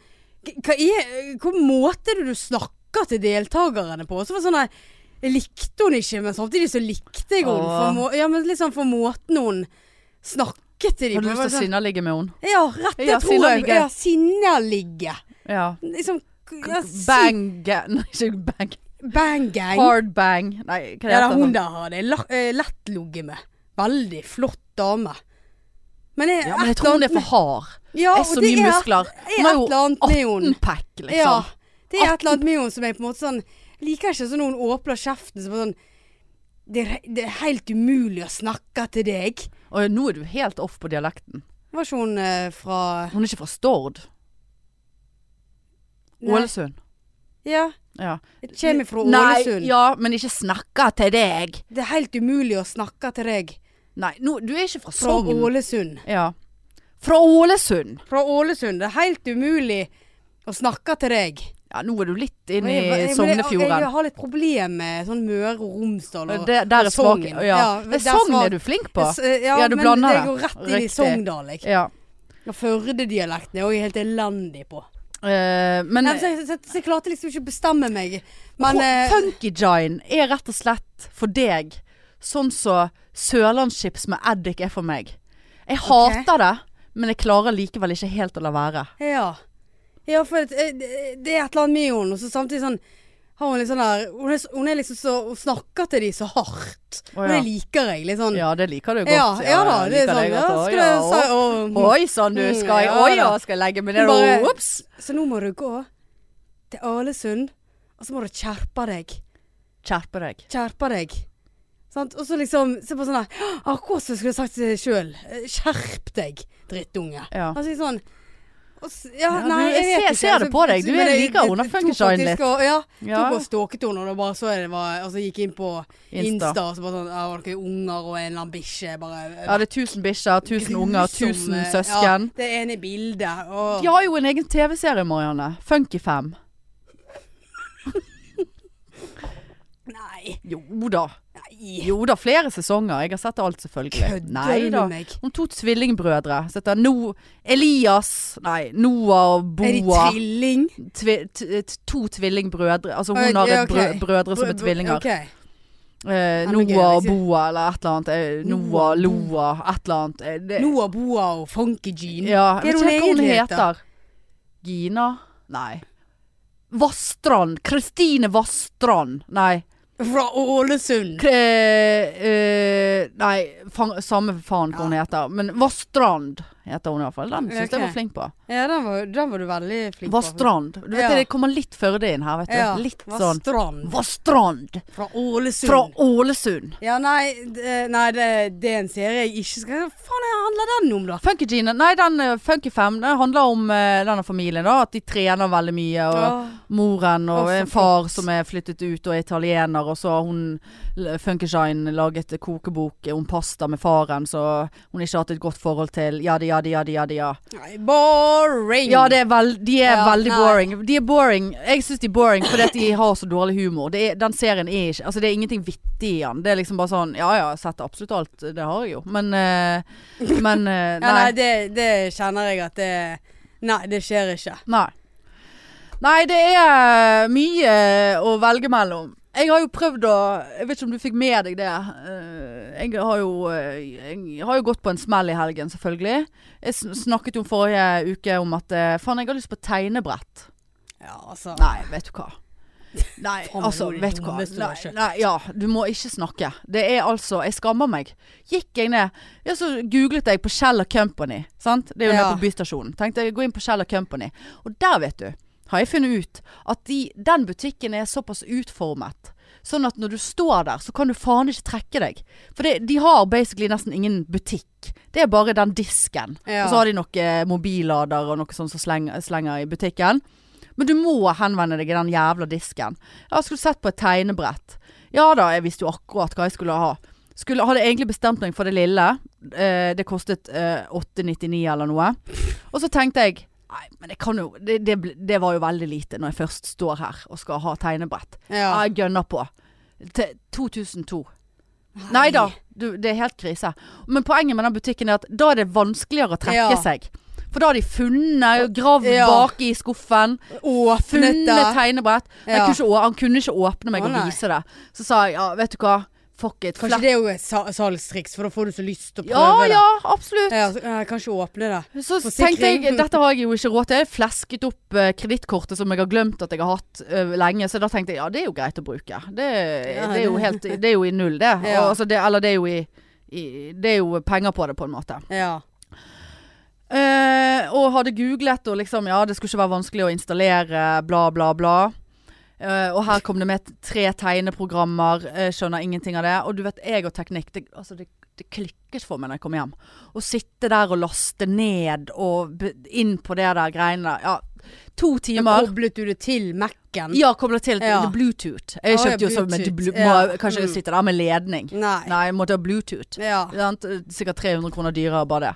B: "K- Hva er Hvor måte er det du snakker til deltakerne på? Så var det sånn der Jeg likte hun ikke, men samtidig så likte jeg henne. For,
A: Åh.
B: må, ja, men liksom for måten hun snakket til
A: Har
B: dem
A: du
B: på.
A: lyst
B: Jeg var
A: til å
B: sånn-
A: sinne ligge med hun?
B: Ja, rett det
A: Ja,
B: tror jeg.
A: sinneligge.
B: Ja, sinneligge.
A: Ja.
B: Liksom k- ja, si-
A: Bang Nei, ikke bang.
B: Bang gang.
A: Hard bang. Nei, hva
B: Ja,
A: det
B: da,
A: heter
B: hun
A: det?
B: der har det la- eh, lett ligget med. Veldig flott dame. Men, jeg,
A: Ja, men jeg tror hun er for hard.
B: ja,
A: Er
B: og
A: så
B: det
A: mye
B: er-
A: muskler.
B: er
A: Hun har
B: et eller
A: jo
B: annet med henne.
A: 18 pack, liksom.
B: Ja, det er et eller annet med henne som jeg på en måte sånn Liker ikke sånn når hun åpner kjeften som sånn det er, he- det er helt umulig å snakke til deg.
A: Og nå er du helt off på dialekten.
B: Var ikke hun eh, fra
A: Hun er ikke fra Stord.
B: Nei.
A: Ålesund.
B: Ja,
A: Ja.
B: jeg kommer fra
A: Nei,
B: Ålesund.
A: ja, men ikke snakka til deg.
B: Det er helt umulig å snakke til deg
A: Nei, nå, du er ikke fra
B: fra
A: Sogn.
B: Ålesund.
A: Ja. Fra Ålesund.
B: Fra Ålesund. Det er helt umulig å snakke til deg.
A: Ja, nå er du litt inn
B: Jeg- jeg-
A: i
B: men Jeg,
A: Sognefjorden.
B: jeg har litt problem med sånn Møre og Romsdal og,
A: Det, der er
B: og Sogn.
A: smaken. Ja. Det er Sogn er du flink på.
B: eh, Ja,
A: Ja, du
B: men
A: blander
B: jeg
A: det.
B: går rett inn i
A: Riktig.
B: Sogndal. jeg.
A: Ja.
B: Og Førde-dialekten er jeg også helt elendig på.
A: Eh, men
B: Nei, så, jeg- så, så jeg klarte liksom ikke å bestemme meg. Men eh,
A: Funkygine er rett og slett for deg sånn som sørlandschips med eddik er for meg. Jeg
B: Ok.
A: hater det, men jeg klarer likevel ikke helt å la være.
B: ja. ja, for at, eh, det det er et eller annet med henne. Og så samtidig sånn har hun litt sånn der Hun er, hun er liksom så Hun snakker til de så hardt.
A: Å, ja.
B: Og det liker jeg. Litt sånn
A: Ja, det liker du godt.
B: ja, ja da. Det er
A: liker
B: sånn
A: jeg
B: ja,
A: godt også.
B: skulle jeg
A: Ja,
B: sa- å,
A: å, Oi sann, du skal jeg
B: Ja,
A: Oi ja,
B: da.
A: skal jeg legge meg ned
B: Bare-
A: og Ops!
B: Så nå må du gå til Ålesund, og så må du kjerpe deg.
A: Skjerpe deg.
B: Kjerpe deg. Sant? Og så liksom se på sånn der «Åh, Akkurat som jeg skulle sagt det sjøl. Skjerp deg, drittunge.
A: Ja.
B: Altså sånn og s- ja,
A: Ja, du-
B: nei,
A: jeg
B: vet
A: ser-
B: ikke.
A: ser det
B: Så-
A: på deg. Du
B: men
A: er
B: jeg-
A: like
B: jeg-
A: under
B: jeg
A: Funkenshine
B: tok faktisk
A: litt.
B: og- Ja.
A: Ja.
B: Tok og stalket henne, og da bare så jeg det var Altså gikk inn på Insta,
A: Insta.
B: og så bare sånn Ja, var det noen unger og en eller annen bikkje? Bare øh,
A: Ja, det er tusen bikkjer, tusen unger,
B: grusomme-
A: tusen søsken.
B: Ja, det ene bildet. Og
A: De har jo en egen TV-serie, Marianne. Funky 5.
B: Nei.
A: Jo da.
B: nei.
A: Jo da, flere sesonger. Jeg har sett alt, selvfølgelig.
B: Kødder
A: Nei
B: du
A: da.
B: meg?
A: Om to tvillingbrødre. Så heter no Elias Nei, Noah og
B: Er de
A: Boa.
B: trilling?
A: Tvi t t to tvillingbrødre. Altså hun
B: Oi,
A: har
B: ja,
A: et
B: ok.
A: brø brødre som er
B: Br- br-
A: tvillinger.
B: ok.
A: Eh,
B: men gøy,
A: Noah og
B: liksom.
A: Boa eller et eller annet. Eh, Noah, Loa, et eller annet. Eh, det,
B: Noah Boa og Funky Jean.
A: ja, jeg
B: Hva
A: vet
B: er det
A: ikke helt hva hun
B: egentlig
A: heter. Gina? Nei. Vassstrand. Kristine Vassstrand. Nei.
B: Fra Ålesund.
A: K eh, nei, fang, samme faen hva hun heter. Men Vassstrand heter hun iallfall. Den syns jeg
B: Ok.
A: var flink på.
B: Ja, den var, den var du veldig flink
A: Vassstrand. Du vet
B: Ja.
A: det kommer litt Førde inn her, vet du.
B: Ja,
A: Litt sånn.
B: Vassstrand.
A: Vassstrand
B: Fra Ålesund.
A: fra Ålesund.
B: Ja, nei, det, nei det, det er en serie jeg ikke skal Hva faen er- handler den om, da?
A: Funky Gina, nei den eh, Funky 5 den handler om eh, denne familien da, at de trener veldig mye og moren og
B: Å, så
A: en far
B: flott.
A: som er flyttet ut og er italiener, og så har hun l- Funkyshine laget kokebok om pasta med faren, så hun ikke har hatt et godt forhold til jadi, jadi, jadi, jadi, ja.
B: Nei, boring!
A: Ja, det er vel- de er
B: Ja,
A: veldig
B: nei.
A: boring. De er boring. Jeg syns de er boring fordi at de har så dårlig humor. Det er, den serien er ikke Altså, det er ingenting vittig i den. Det er liksom bare sånn Ja ja, jeg har sett absolutt alt. Det har jeg jo. Men eh, Men eh,
B: ja, nei
A: Nei.
B: det, det kjenner jeg at det Nei, det skjer ikke.
A: Nei. Nei, det er eh, mye å velge mellom. Jeg har jo prøvd å Jeg vet ikke om du fikk med deg det. Eh, Jeg har jo, eh, jeg har jo gått på en smell i helgen, selvfølgelig. Jeg sn- snakket jo forrige uke om at eh, faen, jeg har lyst på tegnebrett.
B: Ja, altså.
A: Nei, vet du hva. Nei,
B: Faen,
A: altså,
B: det var det
A: vet du hva.
B: dummeste du har
A: Nei,
B: kjøpt.
A: nei, ja, du må ikke snakke. Det er altså Jeg skammer meg. Gikk jeg ned Ja, så googlet jeg på Shell Company. Sant? Det er jo
B: Ja.
A: nede på Bystasjonen. Tenkte jeg gå inn på Shell Company. Og der, vet du, har jeg funnet ut at de, den butikken er såpass utformet. Sånn at når du står der, så kan du faen ikke trekke deg. For det, de har basically nesten ingen butikk. Det er bare den disken.
B: Ja.
A: Og så har de noen mobillader og noe sånt som slenger, slenger i butikken. Men du må henvende deg i den jævla disken. Jeg skulle sett på et tegnebrett. Ja da, jeg visste jo akkurat hva jeg skulle ha. Skulle, hadde egentlig bestemt meg for det lille. Eh, det kostet eh, 8,99 eller noe. Og så tenkte jeg Nei, men det kan jo det, det, bl- det var jo veldig lite når jeg først står her og skal ha tegnebrett.
B: Ja.
A: Ja, jeg gønner på. Til 2002. Nei da, du, det er helt krise. Men poenget med den butikken er at da er det vanskeligere å trekke
B: Ja.
A: seg. For da har de funnet, gravd
B: Ja.
A: bak i skuffen,
B: Åpnet
A: funnet
B: det.
A: tegnebrett. Jeg
B: Ja.
A: kunne ikke, å- han kunne ikke åpne meg
B: Å,
A: og
B: nei.
A: vise det. Så sa jeg ja, vet du hva, fuck it.
B: Kanskje
A: Flett.
B: det er jo et sa- salgstriks, for da får du så lyst til å
A: Ja
B: prøve
A: ja, absolutt.
B: det. Ja, så, jeg kan ikke åpne det.
A: Så
B: Forsikring.
A: tenkte jeg, dette har jeg jo ikke råd til. Jeg flesket opp uh, kredittkortet som jeg har glemt at jeg har hatt eh, lenge. Så da tenkte jeg ja, det er jo greit å bruke. Det,
B: Ja,
A: det, er, jo
B: det-
A: helt, det er jo i null, det.
B: Ja.
A: Og, altså, det eller det er, jo i, i, det er jo penger på det, på en måte.
B: Ja.
A: Eh, og hadde googlet og liksom Ja, det skulle ikke være vanskelig å installere, bla, bla, bla. Eh, og her kom det med tre tegneprogrammer. eh, skjønner ingenting av det. Og du vet, jeg og teknikk det, altså det, det klikket for meg når jeg kom hjem. Å sitte der og laste ned og be- inn på det der greiene der. Ja, to timer.
B: Koblet du det til Mac-en?
A: Ja, kobla til
B: Ja.
A: Bluetooth. Jeg
B: Å, ja,
A: kjøpte jo sånn med blu-
B: Bluetooth,
A: må-
B: ja.
A: Kanskje jeg
B: Mm.
A: sitter der med ledning.
B: Nei.
A: Nei, jeg måtte ha Bluetooth.
B: Ja.
A: Sant? Sikkert 300 kroner dyrere bare det.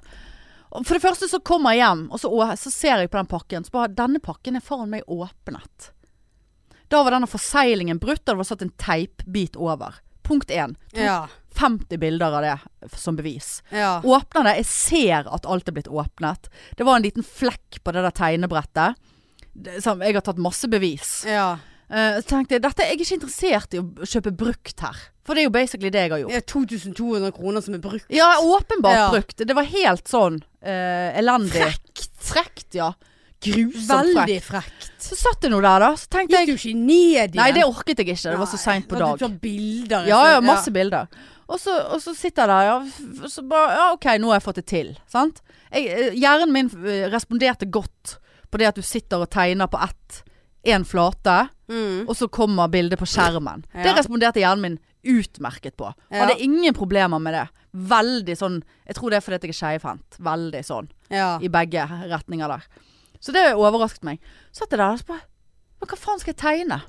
A: Og For det første så kommer jeg hjem, og så, å- så ser jeg på den pakken. Så bare, denne pakken er faen meg åpnet. Da var denne forseglingen brutt, og det var satt en teipbit over. Punkt 1.
B: Ja.
A: 50 bilder av det f- som bevis.
B: ja.
A: Åpner det, jeg ser at alt er blitt åpnet. Det var en liten flekk på det der tegnebrettet. Det- som- Jeg har tatt masse bevis.
B: ja.
A: Eh, Så tenkte jeg, dette er jeg ikke interessert i å kjøpe brukt her. For det er jo basically det jeg har gjort.
B: Ja, 2200 kroner som er brukt.
A: Ja, åpenbart
B: Ja.
A: brukt. Det var helt sånn eh, elendig. Frekt. ja. Grusomt frekt.
B: Veldig frekt.
A: Så satt jeg nå der, da. Så tenkte
B: Gikk du
A: jeg
B: ikke ned igjen?
A: Nei, det orket jeg ikke. Det var så
B: Nei,
A: seint på
B: at Du
A: dag.
B: tar bilder.
A: Ja,
B: så-
A: ja, masse bilder. Og så, og så sitter jeg der, ja. f- f- Så bare Ja, OK, nå har jeg fått det til. Sant? Jeg, eh, hjernen min eh, responderte godt på det at du sitter og tegner på ett én flate,
B: Mm.
A: og så kommer bildet på skjermen.
B: Ja.
A: Det responderte hjernen min utmerket på.
B: Ja.
A: Hadde ingen problemer med det. Veldig sånn Jeg tror det er fordi at jeg er skeivhendt. Veldig sånn.
B: Ja.
A: I begge retninger der. Så det overrasket meg. Så Satt jeg der og så bare Men hva faen skal jeg tegne?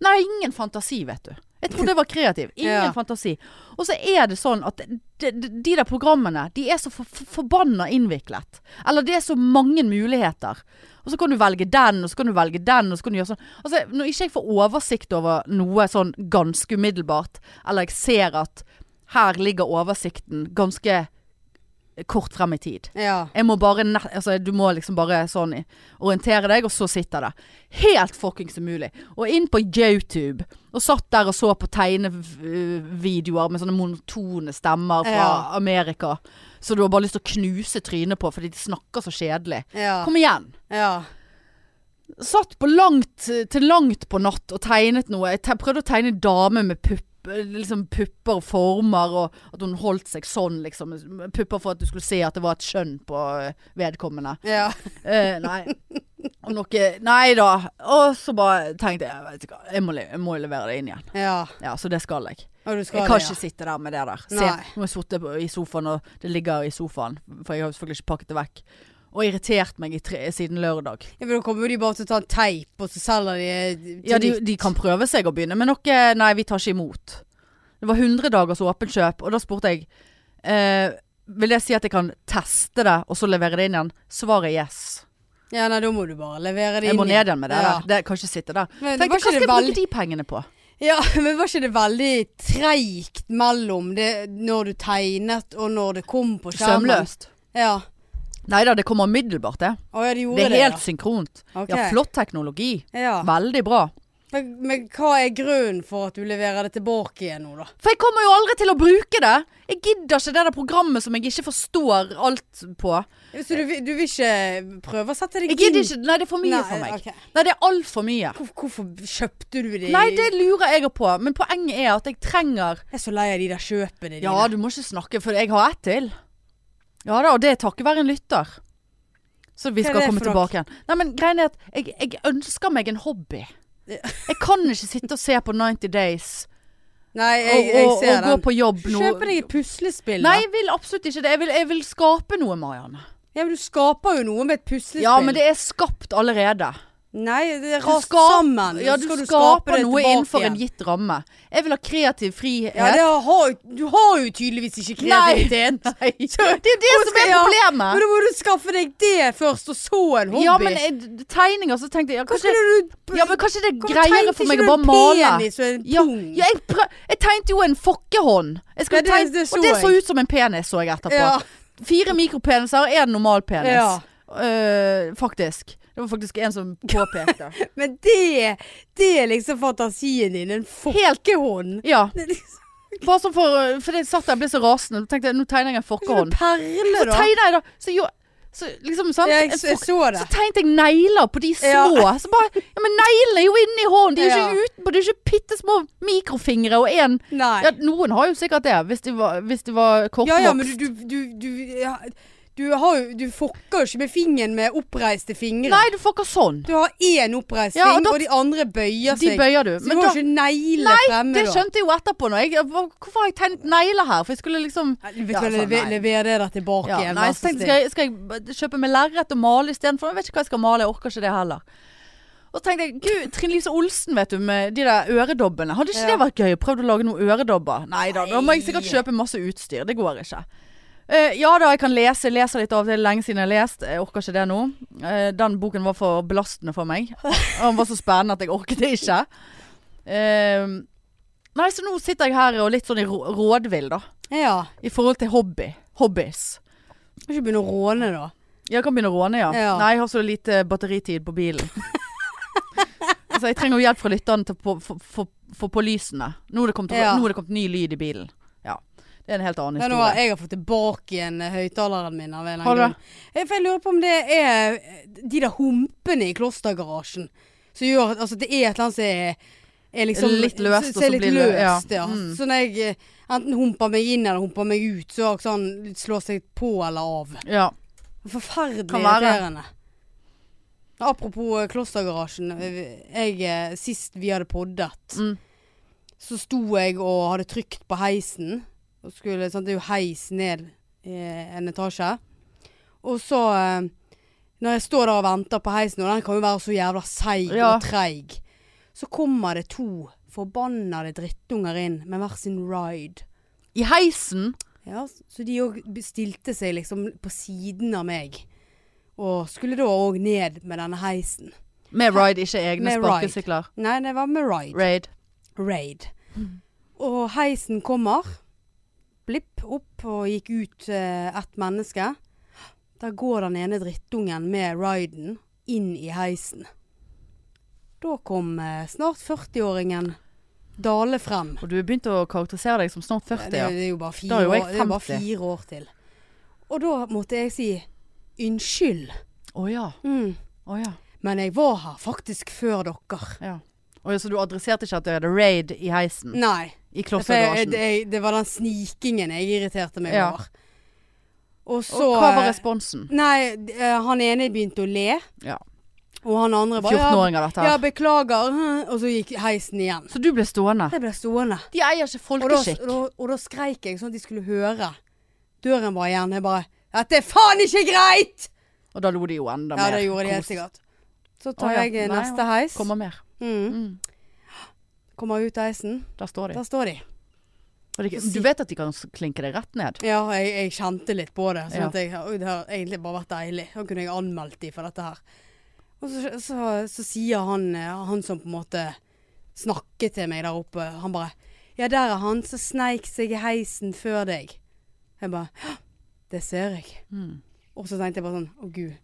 A: Nei, ingen fantasi, vet du. Jeg trodde jeg var kreativ. Ingen
B: Ja.
A: fantasi. Og så er det sånn at de, de, de der programmene, de er så for, for, forbanna innviklet. Eller det er så mange muligheter. Og så kan du velge den, og så kan du velge den, og så kan du gjøre sånn. Altså, når ikke jeg får oversikt over noe sånn ganske umiddelbart, eller jeg ser at her ligger oversikten ganske kort frem i tid.
B: Ja.
A: Jeg må bare, ne- altså, du må liksom bare sånn i- orientere deg, og så sitter det. Helt fuckings umulig. Og inn på YouTube, og satt der og så på tegnevideoer med sånne monotone stemmer fra
B: Ja.
A: Amerika. Så du har bare lyst til å knuse trynet på, fordi de snakker så kjedelig.
B: Ja.
A: Kom igjen!
B: ja.
A: Satt på langt, til langt på natt og tegnet noe. Jeg te prøvde å tegne en dame med pupp, liksom pupper og former, og at hun holdt seg sånn, liksom. Pupper for at du skulle se at det var et kjønn på eh, vedkommende.
B: Ja.
A: Eh, nei. Og noe Nei da. Og så bare tenkte jeg vet du hva, jeg må, le- jeg må jo levere det inn igjen.
B: ja.
A: Ja, Så det skal jeg.
B: Og du skal
A: Jeg kan
B: det,
A: ikke sitte der med det der. Se,
B: Nei.
A: nå har jeg sittet på- i sofaen, og det ligger i sofaen. For jeg har jo selvfølgelig ikke pakket det vekk. Og irritert meg i tre, siden lørdag.
B: ja. ja, for Da kommer de bare til å ta en teip, og så selger de eh,
A: Ja, de,
B: til
A: de kan prøve seg å begynne, men noe Nei, vi tar ikke imot. Det var 100 dagers åpent kjøp, og da spurte jeg eh, Vil det si at jeg kan teste det, og så levere det inn igjen? Svaret er yes.
B: Ja, nei, da må du bare levere det
A: Jeg
B: inn.
A: må ned igjen med det
B: Ja.
A: der. Det kan ikke sitte der.
B: Men
A: Tenkte,
B: var
A: hva
B: ikke
A: skal
B: det
A: jeg bruke
B: veldig-
A: de pengene på?
B: Ja, men var ikke det veldig treigt mellom det når du tegnet og når det kom på skjermen?
A: Sømløst.
B: Ja.
A: Nei da, det kommer umiddelbart, det.
B: Å ja,
A: Det
B: de gjorde
A: er
B: det.
A: helt synkront.
B: ja. Ok.
A: Ja, flott teknologi.
B: Ja.
A: Veldig bra.
B: Men, men hva er grunnen for at du leverer det tilbake igjen nå, da?
A: For jeg kommer jo aldri til å bruke det. Jeg gidder ikke det der programmet som jeg ikke forstår alt på.
B: Så du, vil- du vil ikke prøve å sette deg
A: Jeg gidder ikke, Nei, det er for mye
B: Nei,
A: for meg.
B: ok.
A: Nei, det er altfor mye.
B: Hvor, hvorfor kjøpte du det? i-
A: Nei, det lurer jeg på. Men poenget er at jeg trenger
B: Jeg er så lei av de der kjøpene dine.
A: Ja, du må ikke snakke, for jeg har ett til. Ja da, og det er takket være en lytter. Så vi
B: Hva er
A: skal
B: det
A: komme
B: for noe?
A: tilbake igjen. Nei, men greien er at jeg, jeg ønsker meg en hobby.
B: Ja.
A: Jeg kan ikke sitte og se på 90 Days
B: Nei,
A: og,
B: jeg, jeg
A: og,
B: ser
A: og gå
B: den.
A: på jobb nå.
B: Kjøpe deg et puslespill.
A: Nei,
B: da.
A: jeg vil absolutt ikke det. Jeg vil, jeg vil skape noe, Marianne.
B: Ja, men du skaper jo noe med et puslespill.
A: Ja, men det er skapt allerede.
B: Nei, det er
A: Du
B: rast
A: skap-
B: sammen.
A: Ja,
B: Så
A: du
B: skal skape
A: skaper
B: det
A: noe
B: tilbake
A: innenfor
B: igjen.
A: en gitt ramme. Jeg vil ha kreativ frihet.
B: Ja, det har, du har jo tydeligvis ikke kreativitet.
A: Nei, det er det
B: Hvor
A: som er
B: skal- ja, Men
A: problemet.
B: da må du skaffe deg det først, og så en hobby.
A: Ja, men eh, tegninger, så tenkte jeg ja,
B: Hva
A: kanskje,
B: skal du
A: ja, men kanskje det er greiere for meg å bare male.
B: Penis, og en
A: Ja,
B: pung?
A: ja jeg, prø jeg tegnte jo en fokkehånd. Jeg skulle
B: Ja, det-
A: tegne-
B: det så
A: og det så
B: jeg.
A: ut som en penis, så jeg etterpå.
B: Ja.
A: Fire mikropeniser og én normal penis.
B: Ja.
A: Eh, faktisk. Det var faktisk en som påpekte.
B: Men det, det er liksom fantasien din. En fokkehånd.
A: ja.
B: Det er liksom-
A: Bare sånn for Fordi jeg satt der og ble så rasende. Tenkte jeg, nå tegner jeg en
B: Kanskje det er
A: fokkehånd.
B: perle,
A: Så
B: da?
A: tegner jeg da Så, jo, så liksom sant
B: Ja, jeg,
A: En
B: jeg
A: fok-
B: så det.
A: Så tegnet jeg negler på de
B: Ja.
A: små. Så bare Ja, men neglene er jo inni hånden. De er jo
B: Ja.
A: ikke utenpå. Det er jo ikke bitte små mikrofingre og én
B: Nei.
A: ja, Noen har jo sikkert det, hvis de var, hvis de var
B: Ja,
A: kortvokst.
B: ja, men du, du, du, du, ja, du, har jo, du fokker jo ikke med fingeren med oppreiste fingre.
A: Nei, du fucker sånn.
B: Du har én oppreist
A: Ja, og
B: fing,
A: da-
B: og, de andre bøyer
A: De
B: seg.
A: bøyer du.
B: så du
A: Men
B: har
A: da,
B: jo ikke negle fremme,
A: det
B: da.
A: skjønte jeg jo etterpå. Når jeg, hva- hvorfor har jeg tegnet negler her? For jeg skulle liksom
B: Ja, Vet du
A: Ja,
B: hva,
A: sånn,
B: lever,
A: nei.
B: lever det der tilbake
A: ja,
B: igjen.
A: Nei,
B: vær
A: så
B: så
A: tenkte
B: snill.
A: jeg skal jeg b- kjøpe meg lerret og male istedenfor. Jeg vet ikke hva jeg skal male, jeg orker ikke det heller. Og så tenkte jeg, gud, Trine Lise Olsen vet du, med de der øredobbene. Hadde ikke
B: Ja.
A: det vært gøy? Prøvd å lage noen øredobber? Nei da, da må jeg sikkert
B: Nei.
A: kjøpe masse utstyr. Det går ikke. Eh, ja da, jeg kan lese. Leser litt av og til. Lenge siden jeg har lest. Jeg orker ikke det nå. Eh, den boken var for belastende for meg. Og den var så spennende at jeg orket det ikke. Eh, nei, så nå sitter jeg her og litt sånn i rå- rådvill, da.
B: Ja.
A: I forhold til hobby. Hobbies.
B: Må ikke begynne å råne, da.
A: Jeg kan begynne å råne, ja.
B: Ja.
A: Nei, jeg har så lite batteritid på bilen. så jeg trenger jo hjelp fra lytterne til å få- få- få- få på lysene. Nå har det, kommet-
B: Ja.
A: nå har det kommet ny lyd i bilen. Ja. Det er en helt annen
B: Ja, nå har
A: historie.
B: jeg har fått tilbake igjen eh, høyttaleren min. av en eller
A: Har du
B: annen grunn. Eh, For jeg lurer på om det er eh, de der humpene i klostergarasjen som gjør at altså, det er et eller annet som er, er liksom
A: Litt løst,
B: som-
A: og
B: som er
A: så
B: litt
A: blir det- ja.
B: løst, ja.
A: Mm.
B: Så når jeg eh, enten humper meg inn eller humper meg ut, så har sånn slår seg på eller av.
A: Ja.
B: Forferdelig
A: Kan være.
B: irriterende. Apropos eh, klostergarasjen. eh, Jeg, eh, sist vi hadde poddet,
A: Mm.
B: så sto jeg og hadde trykt på heisen. Og skulle, sant, det er jo heis ned i en etasje. Og så eh, Når jeg står der og venter på heisen, og den kan jo være så jævla seig
A: Ja.
B: og treig, så kommer det to forbannede drittunger inn med hver sin ride.
A: I heisen
B: Ja, så de òg stilte seg liksom på siden av meg. Og skulle da òg ned med denne heisen.
A: med ride, ikke egne
B: Med ride.
A: sparkesykler.
B: Nei, det var med ride.
A: Raid.
B: Raid. Og heisen kommer. Blipp opp og gikk ut eh, ett menneske. Der går den ene drittungen med riden inn i heisen. Da kom eh, snart 40-åringen Dale frem.
A: Og du har begynt å karakterisere deg som snart 40,
B: Det,
A: ja.
B: er jo- det er jo bare fire,
A: Da er jo jeg
B: år, det er bare
A: 50.
B: fire år til. Og da måtte jeg si unnskyld.
A: Mm. Å ja. Å ja.
B: Men jeg var her faktisk før dere.
A: Ja. Og så du adresserte ikke at det hadde raid i heisen?
B: Nei.
A: I
B: For jeg,
A: klostergarasjen?
B: Mm. det, jeg, det var den snikingen jeg irriterte meg
A: Ja.
B: over. Og så
A: Og hva var
B: eh,
A: responsen?
B: Nei, d- eh, han ene begynte å le.
A: Ja.
B: Og han andre bare ja,
A: 14-åringer, dette
B: ja,
A: her.
B: beklager. Og så gikk heisen igjen.
A: Så du ble stående?
B: Jeg ble stående.
A: De eier ikke
B: Og da,
A: folkeskikk.
B: og, da, og da skreik jeg sånn at de skulle høre. Døren var igjen. Jeg bare Dette er faen ikke greit!
A: Og da lo de jo enda
B: Ja,
A: mer.
B: det gjorde de helt
A: kos.
B: sikkert. Så tar
A: Å, ja.
B: jeg eh,
A: Nei,
B: neste heis.
A: Kommer
B: Kommer,
A: mer.
B: mm.
A: Mm.
B: kommer ut av heisen.
A: Der står de.
B: Der står de.
A: Og de. Du vet at de kan klinke deg rett ned?
B: Ja, jeg, jeg kjente litt på det. Sånn
A: Ja.
B: at jeg, oi, det har egentlig bare vært deilig. Da kunne jeg anmeldt de for dette her. Og så, så, så sier han, eh, han som på en måte snakket til meg der oppe, han bare Ja, der er han som sneik seg i heisen før deg. Jeg bare «Hå, Det ser jeg.
A: Mm.
B: Og så tenkte jeg bare sånn Å, gud.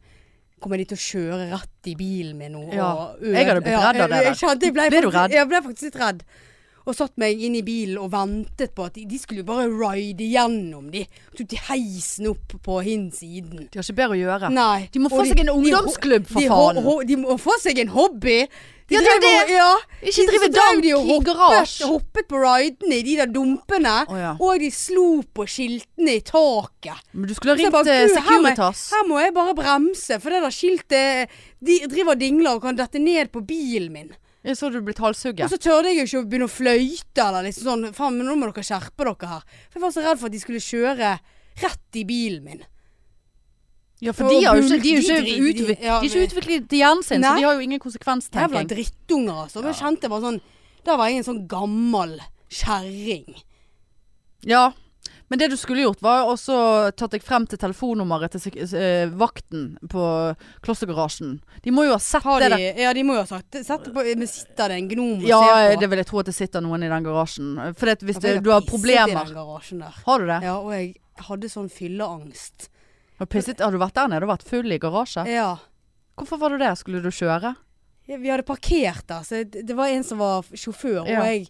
B: Kommer de til å kjøre rett i bilen min nå?
A: Ja,
B: og
A: jeg hadde blitt redd av det
B: jeg- Jeg, kjente, jeg ble,
A: Ble du
B: faktisk-
A: redd?
B: Jeg ble faktisk litt redd. Og satt meg inn i bilen og ventet på at de, de skulle jo bare ride gjennom de. Tok de heisen opp på hin siden.
A: De har ikke bedre å gjøre.
B: Nei.
A: De må få
B: og
A: seg en ungdomsklubb, for
B: de,
A: faen.
B: ho- ho- de må få seg en hobby! De
A: Ja, det er
B: drev og- Ja.
A: Ikke
B: De-
A: drive
B: så drev
A: dank
B: de
A: i
B: og hoppet,
A: garasje.
B: hoppet på ridene i de der dumpene.
A: Å, ja.
B: Og de slo på skiltene i taket.
A: Men du skulle ha
B: Så jeg
A: ringt
B: bare,
A: eh,
B: «Gud, her må jeg-
A: Securitas.
B: Her må jeg bare bremse, for det der skiltet de driver og dingler og kan dette ned på bilen min.
A: Ja, Så hadde du blitt
B: Og
A: halshugget.
B: så tørde jeg jo ikke å begynne å fløyte eller liksom sånn. Faen, men nå må dere skjerpe dere her. For jeg var så redd for at de skulle kjøre rett i bilen min.
A: Ja, for de, har jo ikke, de, er jo
B: De
A: ikke
B: driter i-
A: utviklet, de
B: ja,
A: har ikke utviklet hjernen sin, så
B: Nei.
A: de har jo ingen
B: Jævla
A: konsekvenstenking.
B: drittunger, altså. Men jeg kjente bare sånn Der var jeg en sånn gammel kjerring.
A: Ja, men det du skulle gjort var også tatt deg frem til telefonnummeret til sek- eh, vakten på klostergarasjen. De må jo ha sett
B: Har
A: det
B: de
A: der.
B: Ja, de må jo ha sagt Sett på Men sitter det en gnom og
A: Ja,
B: ser på?
A: det vil jeg tro at det sitter noen i den garasjen. For det, at hvis
B: Ja, for jeg
A: det, du har
B: pisset I
A: problemer
B: den garasjen der.
A: Har du det?
B: Ja, og jeg hadde sånn fylleangst.
A: Har, pisset, har du vært der nede og vært full i garasje?
B: Ja.
A: Hvorfor var du det? Skulle du kjøre?
B: Ja, Vi hadde parkert der, så det det var en som var sjåfør,
A: Ja.
B: og jeg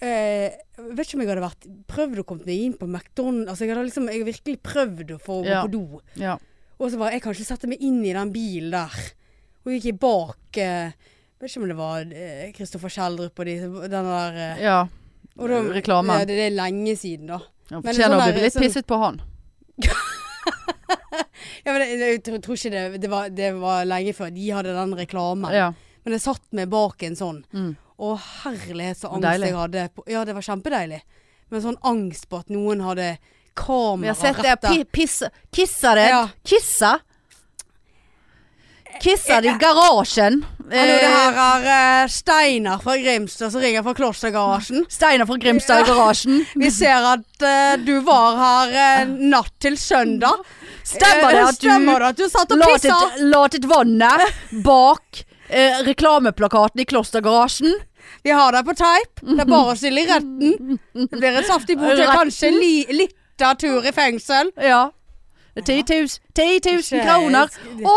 B: eh, vet ikke om jeg hadde vært prøvd å komme meg inn på McDonald's. Altså, jeg hadde liksom, jeg hadde virkelig prøvd å få gå
A: Ja.
B: på do.
A: Ja.
B: Og så bare, jeg kan ikke sette meg inn i den bilen der. Og gikk jeg bak, eh, vet ikke om det var eh, Kristoffer Kjeldrup og de, den der... Eh,
A: ja.
B: og da-
A: Reklamen.
B: Ja, det, det er lenge siden da.
A: Ja,
B: Men
A: Fortjener
B: sånn
A: å
B: der-
A: bli litt
B: sånn-
A: pisset på han.
B: Ja, men jeg, jeg tror, tror ikke det, det var, det var lenge før de hadde den reklamen.
A: Ja.
B: Men jeg satt meg bak en sånn.
A: Mm.
B: Og herlighet så
A: Og
B: angst
A: deilig.
B: jeg hadde. På, ja, det var kjempedeilig. Men sånn angst på at noen hadde
A: Vi
B: kamera
A: har sett det. Pi, pisse. Kissa det.
B: Ja.
A: Kissa. Kissa det i garasjen.
B: Hallo, det
A: Eh,
B: her er eh, Steinar fra Grimstad som ringer fra Klostergarasjen.
A: Steinar fra Grimstad i garasjen.
B: Vi ser at eh, du var her eh, natt til søndag.
A: Stemmer det
B: Eh,
A: at du
B: Stemmer det at du satt og pissa?
A: latet, latet vannet bak eh, reklameplakaten i klostergarasjen?
B: Vi har deg på teip. Det er bare å stille i retten. Det blir en saftig bot.
A: Retten.
B: Kanskje li, litt av tur i fengsel.
A: Ja. Det er 10 000, 10 000
B: Ikke-
A: kroner. Å,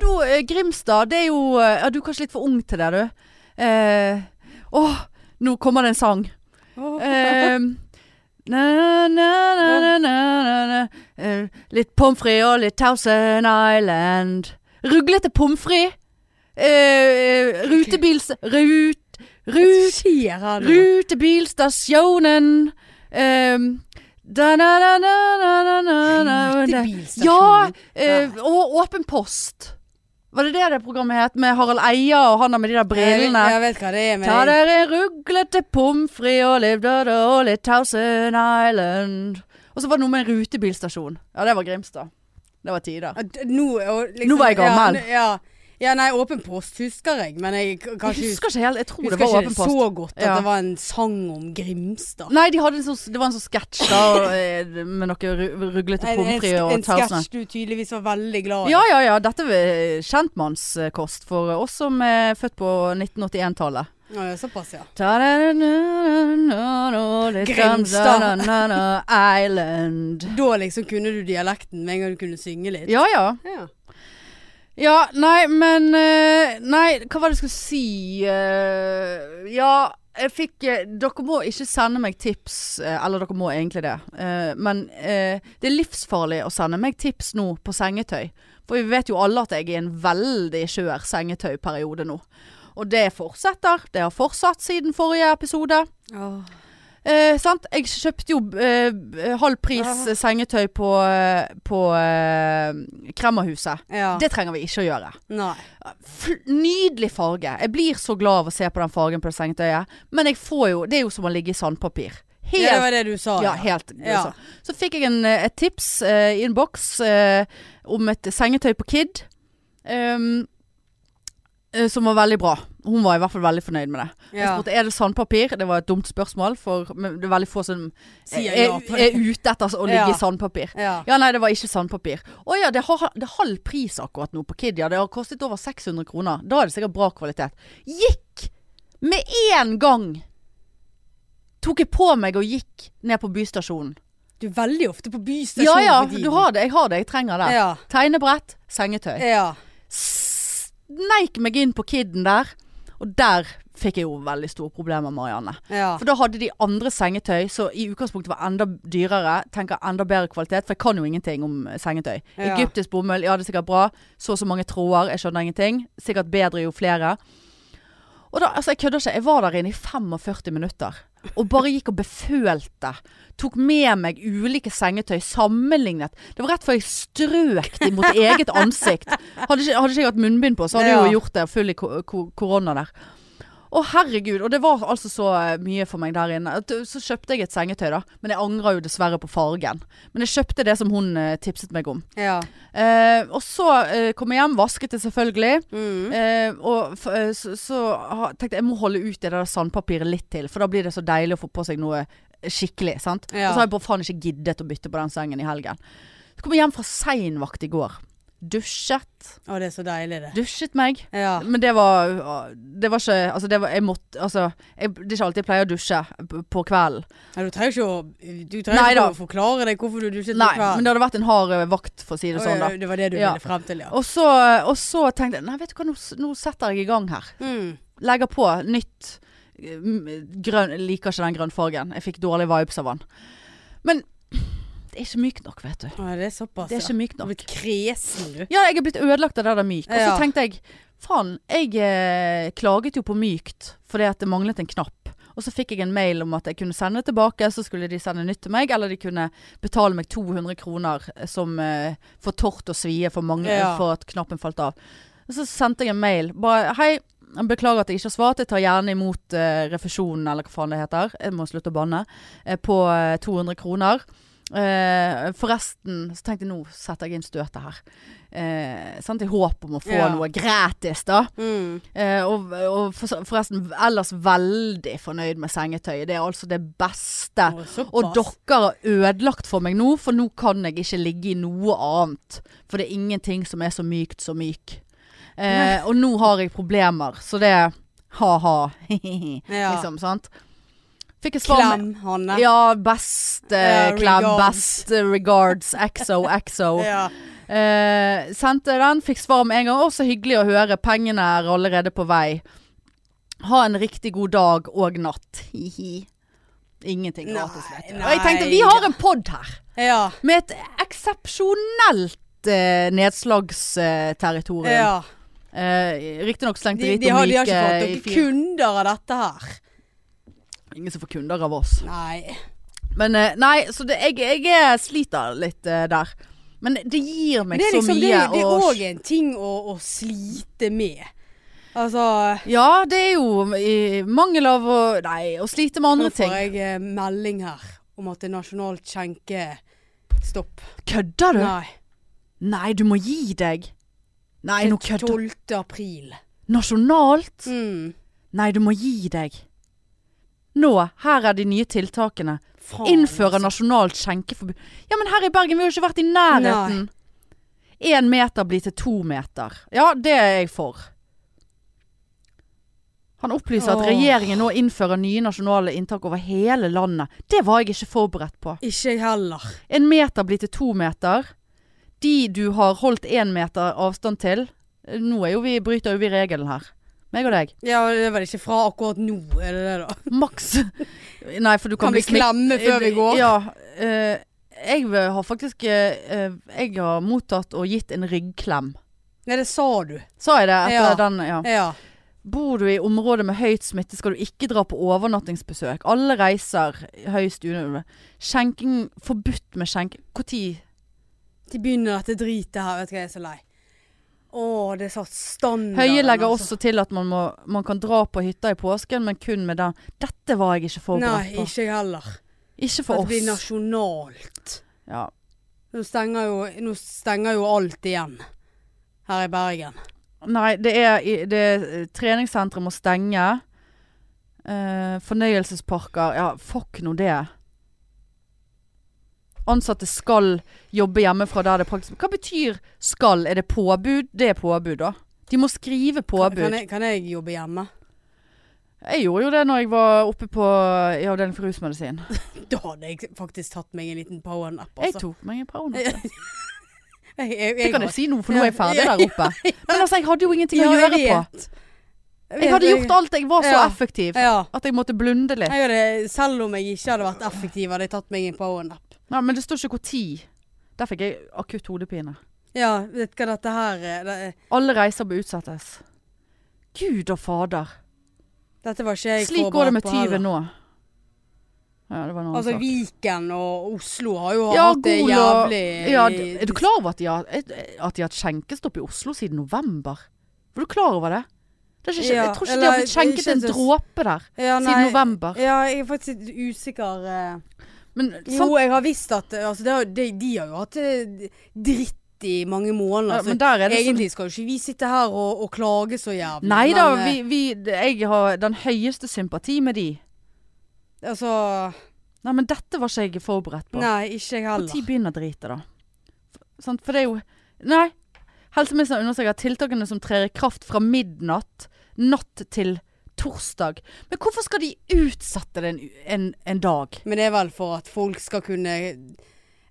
A: nå, eh, Grimstad, det er jo eh, ja, Du er kanskje litt for ung til det, du. Eh, Å, nå kommer det en sang. Eh, na, na, na, na, na, na, na. Eh, litt pommes frites og litt Thousand Island. Ruglete pommes frites. Eh, rutebils... Rut... Rut...
B: Skjer her nå?
A: Rutebilstasjonen. Um, da, na, na, na, na, na, na, na.
B: Rutebilstasjonen.
A: Ja, eh, og Åpen post. Var det det det programmet het? Med Harald Eia og han der med de der brillene.
B: Jeg, jeg vet hva det er, men
A: Ta
B: jeg,
A: dere en ruglete pommes frites og livdøde og litt Thousand Island. Og så var det noe med en rutebilstasjon. Ja, det var Grimstad. Det var tider.
B: at nå, og liksom,
A: Nå var jeg gammel.
B: Ja, nå- ja, ja, nei, Åpen post husker jeg, men jeg k-
A: Jeg
B: kanskje
A: husker ikke helt. Jeg tror
B: husker
A: det var
B: ikke
A: Åpen post.
B: så godt at
A: Ja.
B: det var en sang om Grimstad.
A: Nei, de hadde en sånn, det var en sånn sketsj da eh, med noe ru- ruglete
B: En,
A: pommes
B: en,
A: frites og
B: en
A: Thousand Island.
B: sketsj du tydeligvis var veldig glad i.
A: Ja, ja, ja. Dette er kjentmannskost for oss som er født på 1981-tallet.
B: Ja, ja, såpass, ja.
A: Grimstad. Island.
B: Da liksom kunne du dialekten med en gang du kunne synge litt.
A: Ja, ja.
B: Ja.
A: Ja, nei, men eh, Nei, hva var det jeg skulle si? Eh, Ja, jeg fikk eh, Dere må ikke sende meg tips, eh, eller dere må egentlig det. Eh, Men eh, det er livsfarlig å sende meg tips nå på sengetøy. For vi vet jo alle at jeg er i en veldig skjør sengetøyperiode nå. Og det fortsetter. Det har fortsatt siden forrige episode. Eh, sant? Jeg kjøpte jo eh, halv pris
B: Ja.
A: sengetøy på, eh, på eh, Kremmerhuset.
B: Ja.
A: Det trenger vi ikke å gjøre.
B: Nei.
A: Fl nydelig farge. Jeg blir så glad av å se på den fargen på det sengetøyet. Men jeg får jo Det er jo som å ligge i sandpapir. Helt
B: Ja, det var det du sa.
A: ja, helt.
B: Ja.
A: Så. så fikk jeg en, eh, et tips eh, i en boks eh, om et sengetøy på Kid. ehm, eh, som var veldig bra. Hun var i hvert fall veldig fornøyd med det. Jeg
B: Ja.
A: spurte er det sandpapir. Det var et dumt spørsmål, for men det er veldig få som
B: Sier
A: er,
B: ja på
A: er
B: det.
A: ute etter å ligge
B: Ja.
A: i sandpapir.
B: Ja.
A: Ja, nei, det var ikke sandpapir. Å ja, det har det er halv pris akkurat nå på Kid. Ja, det har kostet over 600 kroner. Da er det sikkert bra kvalitet. Gikk med en gang! Tok jeg på meg og gikk ned på bystasjonen.
B: Du er veldig ofte på bystasjonen
A: Ja ja,
B: for tiden.
A: du har det. Jeg har det. Jeg trenger det.
B: Ja.
A: Tegnebrett, sengetøy.
B: ja.
A: Sneik meg inn på Kidden der, og der fikk jeg jo veldig store problemer, Marianne.
B: ja.
A: For da hadde de andre sengetøy, som i utgangspunktet var enda dyrere. Tenker enda bedre kvalitet, for jeg kan jo ingenting om eh, sengetøy.
B: Ja.
A: Egyptisk bomull, ja det er sikkert bra. Så og så mange tråder, jeg skjønner ingenting. Sikkert bedre jo flere. Og da, altså jeg kødder ikke, jeg var der inne i 45 minutter. Og bare gikk og befølte. Tok med meg ulike sengetøy, sammenlignet. Det var rett før jeg strøk de mot eget ansikt. Hadde ikke, hadde ikke jeg hatt munnbind på, så hadde jeg
B: Ja.
A: jo gjort det full i ko- ko- korona der. Å herregud, og det var altså så eh, mye for meg der inne. At, eh, Så kjøpte jeg et sengetøy da, men jeg angrer jo dessverre på fargen. Men jeg kjøpte det som hun eh, tipset meg om.
B: ja.
A: Eh, og så eh, kom jeg hjem, vasket det selvfølgelig.
B: Mm.
A: Eh, og f eh, så, så ha- tenkte jeg jeg må holde ut i det der sandpapiret litt til, for da blir det så deilig å få på seg noe eh, skikkelig. sant?
B: Ja.
A: Og så har jeg bare faen ikke giddet å bytte på den sengen i helgen. Så kom jeg hjem fra seinvakt i går. Dusjet.
B: Å, det er så deilig, det.
A: Dusjet meg.
B: Ja.
A: Men det var Det var ikke Altså, det var Jeg måtte Altså, jeg, det er ikke alltid jeg pleier å dusje p- på kvelden.
B: Nei, du trenger ikke å Du
A: Nei
B: trenger ikke
A: da.
B: å forklare deg hvorfor du dusjet
A: Nei, men det hadde vært en hard eh, vakt, for å si det sånn, da.
B: Det var det du
A: Ja.
B: ville frem til, ja.
A: Og så, og så tenkte jeg Nei, vet du hva, nå, s- nå setter jeg i gang her.
B: Mm.
A: Legger på nytt eh, m- grønn jeg Liker ikke den grønnfargen. Jeg fikk dårlige vibes av den. Men det er ikke mykt nok, vet du.
B: Å, det er såpass,
A: Det er ikke mykt
B: Du
A: nok.
B: har blitt kresen, du.
A: Ja, jeg er blitt ødelagt av det der myk. Og så
B: Ja.
A: tenkte jeg Faen, jeg eh, klaget jo på mykt fordi at det manglet en knapp. Og så fikk jeg en mail om at jeg kunne sende tilbake, så skulle de sende nytt til meg. Eller de kunne betale meg 200 kroner eh, som eh, for tort og svie for, mange, eh,
B: Ja.
A: for at knappen falt av. Og så sendte jeg en mail. Bare hei, jeg beklager at jeg ikke har svart. Jeg tar gjerne imot eh, refusjonen, eller hva faen det heter. Jeg må slutte å banne. Eh, på eh, 200 kroner. Eh, forresten så tenkte jeg nå setter jeg inn støtet her. Eh, sant? I håp om å få
B: Ja.
A: noe gratis, da.
B: Mm.
A: Eh, og, og for- forresten ellers veldig fornøyd med sengetøyet. Det er altså det beste.
B: Å, såpass.
A: Og dere har ødelagt for meg nå, for nå kan jeg ikke ligge i noe annet. For det er ingenting som er så mykt som myk. Eh, og nå har jeg problemer, så det er ha-ha.
B: Ja.
A: Liksom, sant? Fikk jeg svar med
B: Klem, Hanne.
A: Ja, best eh,
B: Ja,
A: klem,
B: regards.
A: best eh, regards, exo, exo.
B: Ja.
A: Eh, sendte den, fikk svar med en gang. Å, så hyggelig å høre. Pengene er allerede på vei. Ha en riktig god dag og natt. Hihi. Ingenting gratis,
B: Nei,
A: vet du. Og jeg tenkte,
B: nei.
A: vi har en pod her
B: ja.
A: med et eksepsjonelt eh, nedslagsterritorium.
B: ja.
A: Eh, Riktignok slengt
B: De,
A: drit
B: de,
A: om
B: har, de har
A: myke
B: ikke fått
A: i
B: noen
A: fyr.
B: kunder av dette her.
A: Ingen som får kunder av oss.
B: Nei.
A: Men eh, nei, så det, jeg, jeg er- sliter litt eh, der. Men det gir meg
B: Men det er liksom
A: så
B: det,
A: mye.
B: det er
A: å-
B: òg en ting å, å slite med. Altså
A: Ja, det er jo i mangel av å Nei, å slite med
B: Nå
A: andre ting.
B: får jeg eh, melding her om at det er nasjonalt skjenkestopp.
A: Kødder du? Nei.
B: Nei.
A: du må gi deg. Nei, nå kødder du.
B: 12. april.
A: Nasjonalt?
B: Mm.
A: Nei, du må gi deg. Nå, her er de nye tiltakene.
B: Faen,
A: Innføre
B: altså.
A: nasjonalt skjenkeforbud. Ja, men her i Bergen, vi har jo ikke vært i nærheten. Én meter blir til to meter. Ja, det er jeg for. Han opplyser at
B: Åh.
A: regjeringen nå innfører nye nasjonale inntak over hele landet. Det var jeg ikke forberedt på.
B: Ikke jeg heller.
A: En meter blir til to meter. De du har holdt én meter avstand til Nå er jo vi, bryter jo vi regelen her. Meg og deg.
B: Ja, det er vel ikke fra akkurat nå, er det det da?
A: Maks Nei, for du kan,
B: Kan vi
A: bli smitt-
B: klemme før vi går?
A: Ja. eh, Jeg eh, har faktisk eh, eh, Jeg har mottatt og gitt en ryggklem.
B: Nei, det sa du.
A: Sa jeg det etter
B: Ja.
A: den? Ja.
B: Ja.
A: Bor du i området med høyt smitte, skal du ikke dra på overnattingsbesøk. Alle reiser høyst unødvendig. Skjenking Forbudt med skjenking Når?
B: De begynner dette dritet her, vet du hva, jeg er så lei. Å, det er satt standarden.
A: Høie legger
B: altså.
A: også til at man, må, man kan dra på hytta i påsken, men kun med den. Dette var jeg ikke forberedt
B: Nei,
A: på.
B: ikke jeg heller.
A: Ikke
B: At
A: for
B: det blir
A: oss.
B: nasjonalt.
A: Ja.
B: Nå stenger, jo, nå stenger jo alt igjen her i Bergen.
A: Nei, det er i- det, Treningssenteret må stenge. Eh, fornøyelsesparker Ja, fuck nå det. Ansatte skal jobbe hjemmefra der det er praktisk Hva betyr 'skal'? Er det påbud? Det er påbud, da. De må skrive
B: Kan,
A: påbud.
B: kan,
A: jeg...
B: jeg, kan jeg jobbe hjemme?
A: gjorde jo det når jeg var oppe på i avdeling for rusmedisin.
B: Da hadde jeg faktisk tatt meg en liten powernap.
A: Jeg
B: Altså.
A: tok meg en pound.
B: Jeg- Jeg, jeg,
A: Det kan jeg si nå, for nå
B: Ja,
A: er jeg ferdig
B: ja,
A: der oppe. Men altså, jeg hadde jo ingenting å gjøre på. Jeg hadde gjort alt. Jeg var så
B: Ja.
A: effektiv
B: Ja.
A: at jeg måtte blunde litt.
B: Jeg hadde, selv om jeg ikke hadde vært effektiv, hadde jeg tatt meg en powernap.
A: Ja, men det står ikke hvor tid. Der fikk jeg akutt hodepine.
B: Ja, vet du hva dette her eh, det,
A: Alle reiser bør utsettes. Gud og fader.
B: Dette var ikke jeg
A: Slik går det med
B: forberedt på heller.
A: tyven nå. Ja, det var en annen
B: Altså
A: sak.
B: Viken og Oslo har jo
A: Ja,
B: hatt det
A: Gol og-
B: jævlig
A: Ja, d- er du klar over at de har, at de har hatt skjenkestopp i Oslo siden november? Var du klar over det? det er ikke,
B: Ja,
A: jeg tror ikke de
B: eller-
A: har fått skjenket
B: ikke
A: en
B: så-
A: dråpe der
B: Ja,
A: siden november.
B: Ja, jeg er faktisk litt usikker. eh.
A: Men
B: Jo,
A: sant,
B: jeg har visst at eh, altså, det har, de, de har jo hatt eh, dritt i mange måneder.
A: ja,
B: Så
A: men der er det sånn
B: altså, egentlig skal jo ikke vi sitte her og, og klage så jævlig.
A: Nei da,
B: men, eh,
A: vi, vi, jeg har den høyeste sympati med de.
B: Altså
A: Nei, men dette var ikke jeg forberedt på.
B: Nei, ikke jeg
A: Når
B: heller.
A: begynner dritet, da? F- Sant? For det er jo Nei. Helseministeren understreker at tiltakene som trer i kraft fra midnatt natt til torsdag Men hvorfor skal de utsette det en, u- en, en dag?
B: Men det er vel for at folk skal kunne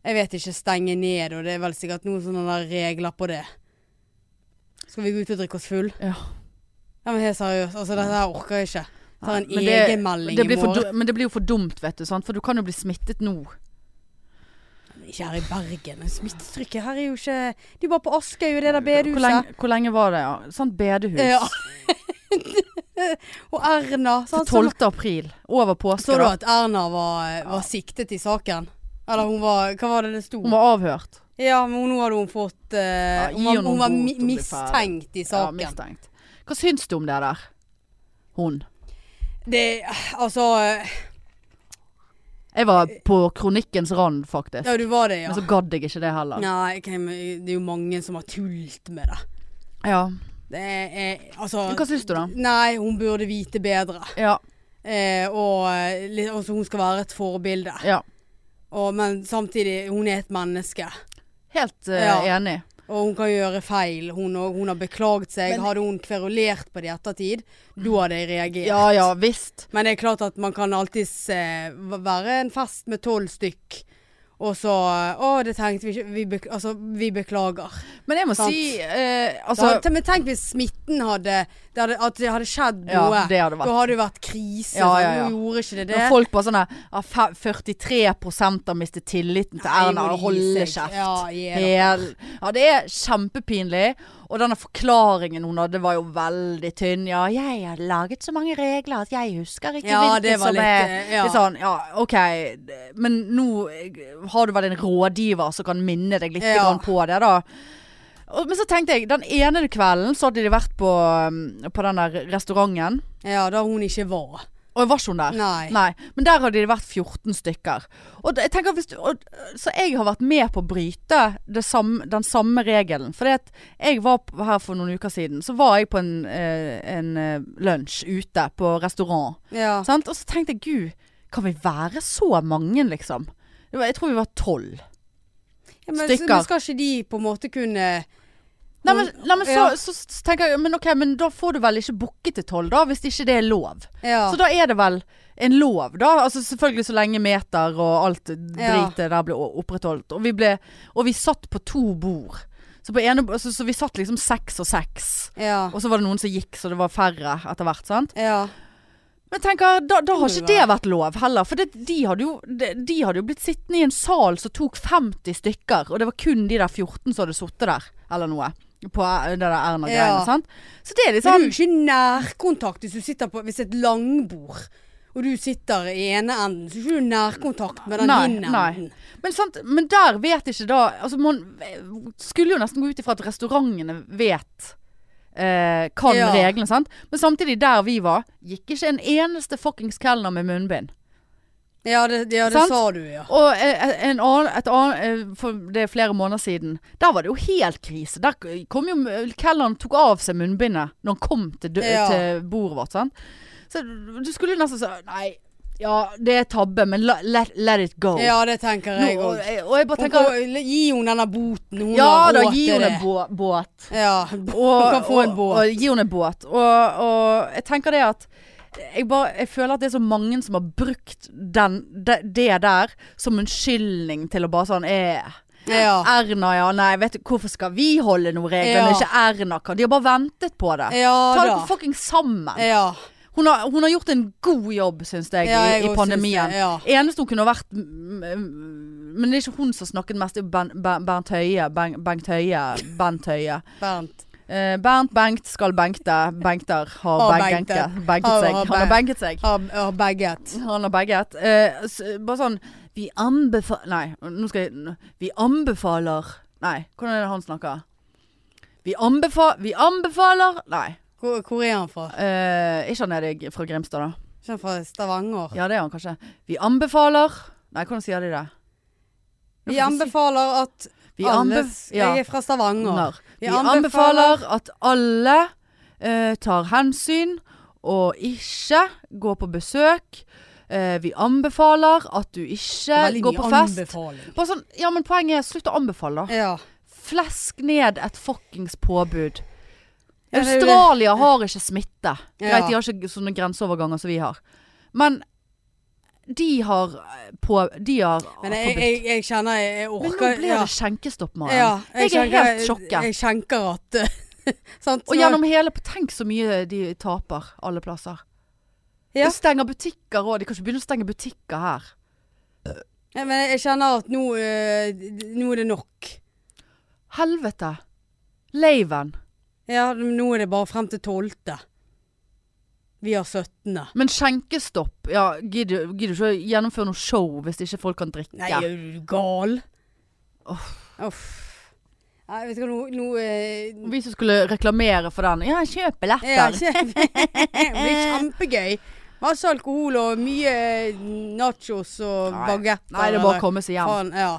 B: Jeg vet ikke, stenge ned, og det er vel sikkert noen sånne der regler på det. Skal vi gå ut og drikke oss full?
A: Ja.
B: Ja, men helt seriøst, altså dette her orker jeg ikke. Tar en
A: Nei, men det-
B: egenmelding
A: det
B: i
A: blir for,
B: morgen.
A: du- men det blir jo for dumt, vet du, sant? for du kan jo bli smittet nå.
B: Ikke her i Bergen. Smittetrykket her er jo ikke Det er bare på Askøy og det der
A: Hvor
B: bedehuset.
A: lenge, hvor lenge var det? Ja? Sant bedehus.
B: Ja. og Erna.
A: Til
B: sant, Sånn som-
A: 12. april. Over
B: Så
A: påske,
B: du
A: da.
B: at Erna var, eh, var siktet i saken? Eller hun var Hva var det det sto?
A: Hun var avhørt.
B: Ja, men nå hadde hun fått eh,
A: Ja, gi
B: Hun var,
A: henne
B: hun var
A: noen
B: mi
A: bot, hun blir
B: mistenkt i
A: Ja,
B: saken.
A: mistenkt. Hva syns du om det der? Hun.
B: det Altså eh,
A: Jeg var på kronikkens rand, faktisk.
B: Ja, du var det, ja.
A: Men så gadd jeg ikke det heller.
B: Nei, ok, men det er jo mange som har tullet med det.
A: Ja.
B: Det er Altså
A: Men Hva syns du, da?
B: Nei, hun burde vite bedre.
A: Ja,
B: Eh, og eh, li- altså, hun skal være et forbilde.
A: ja.
B: Og, men samtidig, hun er et menneske.
A: Helt eh,
B: Ja.
A: enig.
B: Og hun kan gjøre feil. Hun, og, hun har beklaget seg.
A: Men-
B: hadde hun kverulert på det i ettertid, da hadde jeg reagert.
A: Ja ja visst.
B: Men det er klart at man kan alltids eh, v- være en fest med tolv stykk. Og så Å, det tenkte vi ikke vi bek Altså, vi beklager.
A: Men jeg må
B: Sant.
A: si eh,
B: Altså,
A: Altså
B: men tenk hvis smitten hadde, det hadde At det hadde skjedd
A: Ja,
B: noe.
A: det hadde vært.
B: Da hadde det vært krise.
A: Ja,
B: sant?
A: ja, ja.
B: Nå gjorde ikke det det.
A: når folk bare sånn her, ja, fe- 43 har mistet tilliten til
B: Nei,
A: Erna
B: må
A: og
B: de gi
A: holder
B: seg.
A: kjeft.
B: Ja, gi da.
A: Hel. Ja, det er kjempepinlig. Og denne forklaringen hun hadde var jo veldig tynn. Ja, jeg har laget så mange regler at jeg husker ikke
B: ja,
A: hvilke
B: det var
A: som
B: litt
A: er
B: eh, ja.
A: Litt sånn, ja ok, men nå eh, har du vel en rådgiver som kan minne deg litt
B: Ja.
A: grann på det, da. Og, men så tenkte jeg, den ene kvelden så hadde de vært på, um, på den der restauranten.
B: ja, da hun ikke var.
A: Og var ikke hun der?
B: Nei.
A: Men der hadde de vært 14 stykker. Og da- jeg tenker, hvis du, og, så jeg har vært med på å bryte det samme, den samme regelen. For at jeg var p- her for noen uker siden, så var jeg på en, eh, en eh, lunsj ute på restaurant.
B: Ja.
A: Sant? Og så tenkte jeg, gud, kan vi være så mange, liksom? Det var- Jeg tror vi var tolv.
B: Ja, men,
A: stykker.
B: men skal ikke de på en måte kunne
A: Nei, men, nei, men så,
B: Ja.
A: så, så tenker jeg, men ok, men da får du vel ikke booke til tolv, da, hvis ikke det er lov.
B: Ja.
A: Så da er det vel en lov, da. Altså selvfølgelig så lenge meter og alt dritet der ble o- opprettholdt. Og vi, ble, og vi satt på to bord. Så, på ene, så, så vi satt liksom seks og seks.
B: ja.
A: Og så var det noen som gikk, så det var færre etter hvert, sant.
B: Ja.
A: Men jeg tenker, da, da har
B: Det må
A: ikke
B: jo
A: det vært lov heller. For det, de, hadde jo, de, de hadde jo blitt sittende i en sal som tok 50 stykker, og det var kun de der 14 som hadde sittet der, eller noe. På eh, det der Erna-greiene.
B: Ja.
A: sant? Så det er litt
B: Men du
A: sånn
B: er jo ikke nærkontakt hvis du sitter på hvis et langbord. Og du sitter i ene enden, så er ikke du nærkontakt med den
A: Nei,
B: ene
A: nei.
B: enden.
A: men, sant, men der vet ikke da altså Man eh, skulle jo nesten gå ut ifra at restaurantene vet eh, kan
B: Ja.
A: reglene, sant. Men samtidig, der vi var, gikk ikke en eneste fuckings kelner med munnbind.
B: Ja, det, ja, det
A: Sant?
B: sa du, ja.
A: Og eh, en annen, et annet, eh, for det er flere måneder siden, der var det jo helt krise. Der kom jo Kellan tok av seg munnbindet når han kom til, dø-
B: Ja.
A: til bordet vårt. Sant? Så du skulle nesten sagt Nei, ja det er tabbe, men la, let, let it go.
B: Ja, det tenker
A: Nå,
B: jeg
A: og,
B: òg.
A: jeg- og jeg bare tenker
B: Gi henne denne boten. Hun
A: Ja
B: har
A: da,
B: råd
A: gi
B: til
A: henne
B: det.
A: en bå- båt.
B: Ja,
A: Og,
B: hun kan få en
A: og-
B: båt.
A: Og, gi henne en båt. Og, og jeg tenker det at jeg, bare, jeg føler at det er så mange som har brukt den, det, det der som unnskyldning til å bare sånn eh,
B: ja.
A: Erna, ja. Nei, vet du, hvorfor skal vi holde noen regler?
B: Ja.
A: når Ikke Erna kan. De har bare ventet på det.
B: ja
A: Ta
B: da.
A: dere fucking sammen.
B: Ja,
A: Hun har, hun har gjort en god jobb, syns jeg,
B: ja jeg
A: i, i
B: også
A: pandemien.
B: synes det, Ja.
A: Ah. Eneste hun kunne ha vært mm, mm, Men det er ikke hun som snakket mest, det er jo Ben- Ben- Bernt Høie. Ben- Bengt Høie. Bent Høie.
B: Bernt.
A: Eh, Bernt Bengt skal benkte. Benkter har
B: Har
A: benket,
B: benket.
A: benket
B: Har-
A: seg.
B: har
A: Han har
B: ben-
A: benket seg.
B: Har har bagget.
A: Han har bagget. Eh, s- bare sånn Vi anbefaler Nei, nå skal jeg n- Vi anbefaler Nei, hvordan er det han snakker? Vi, anbefa vi anbefaler Nei.
B: Hvor, hvor er han fra?
A: Eh, ikke han er det fra Grimstad, da?
B: Ikke han fra Stavanger?
A: Ja, det er han kanskje. Vi anbefaler Nei, hvordan sier de det?
B: Vi anbefaler at
A: Vi
B: alle
A: anbef- ja.
B: Jeg er fra Stavanger.
A: Nar. Vi anbefaler at alle eh, tar hensyn og ikke går på besøk. Eh, vi anbefaler at du ikke
B: Veldig
A: går
B: mye
A: eh, på fest. Ah,
B: anbefaling.
A: Bare sånn, ja, men poenget er slutt å anbefale. da.
B: Ja.
A: Flesk ned et fuckings påbud.
B: Ja, det er jo det.
A: Australia har ikke smitte.
B: Ja.
A: Greit, de har ikke sånne grenseoverganger som vi har. Men de har eh, på De har
B: Men jeg, jeg, jeg kjenner jeg, jeg
A: forbudt. ah, Men
B: orker
A: nå blir det skjenkestopp, Maren.
B: ja,
A: jeg, er
B: kjenker-
A: helt sjokket.
B: Jeg kjenker at sant,
A: Og
B: så-
A: gjennom hele Tenk så mye de taper alle plasser.
B: Ja.
A: De stenger butikker òg. De kan ikke begynne å stenge butikker her.
B: Ja, Men jeg kjenner at nå, eh, nå er det nok.
A: Helvete. Laven.
B: Ja, nå er det bare frem til 12. Vi har 17.
A: Men skjenkestopp Ja, gidder gidder du ikke å gjennomføre noe show hvis ikke folk kan drikke?
B: Nei, er du gal?
A: Uff.
B: Uff. Nei, vet du hva, nå, nå eh,
A: Vi som skulle reklamere for den. Ja, kjøp billetter.
B: Ja, kjempe- det blir kjempegøy. Masse alkohol og mye eh, nachos og
A: Nei.
B: bagetter.
A: Nei, det er bare å komme seg hjem.
B: Faen, ja.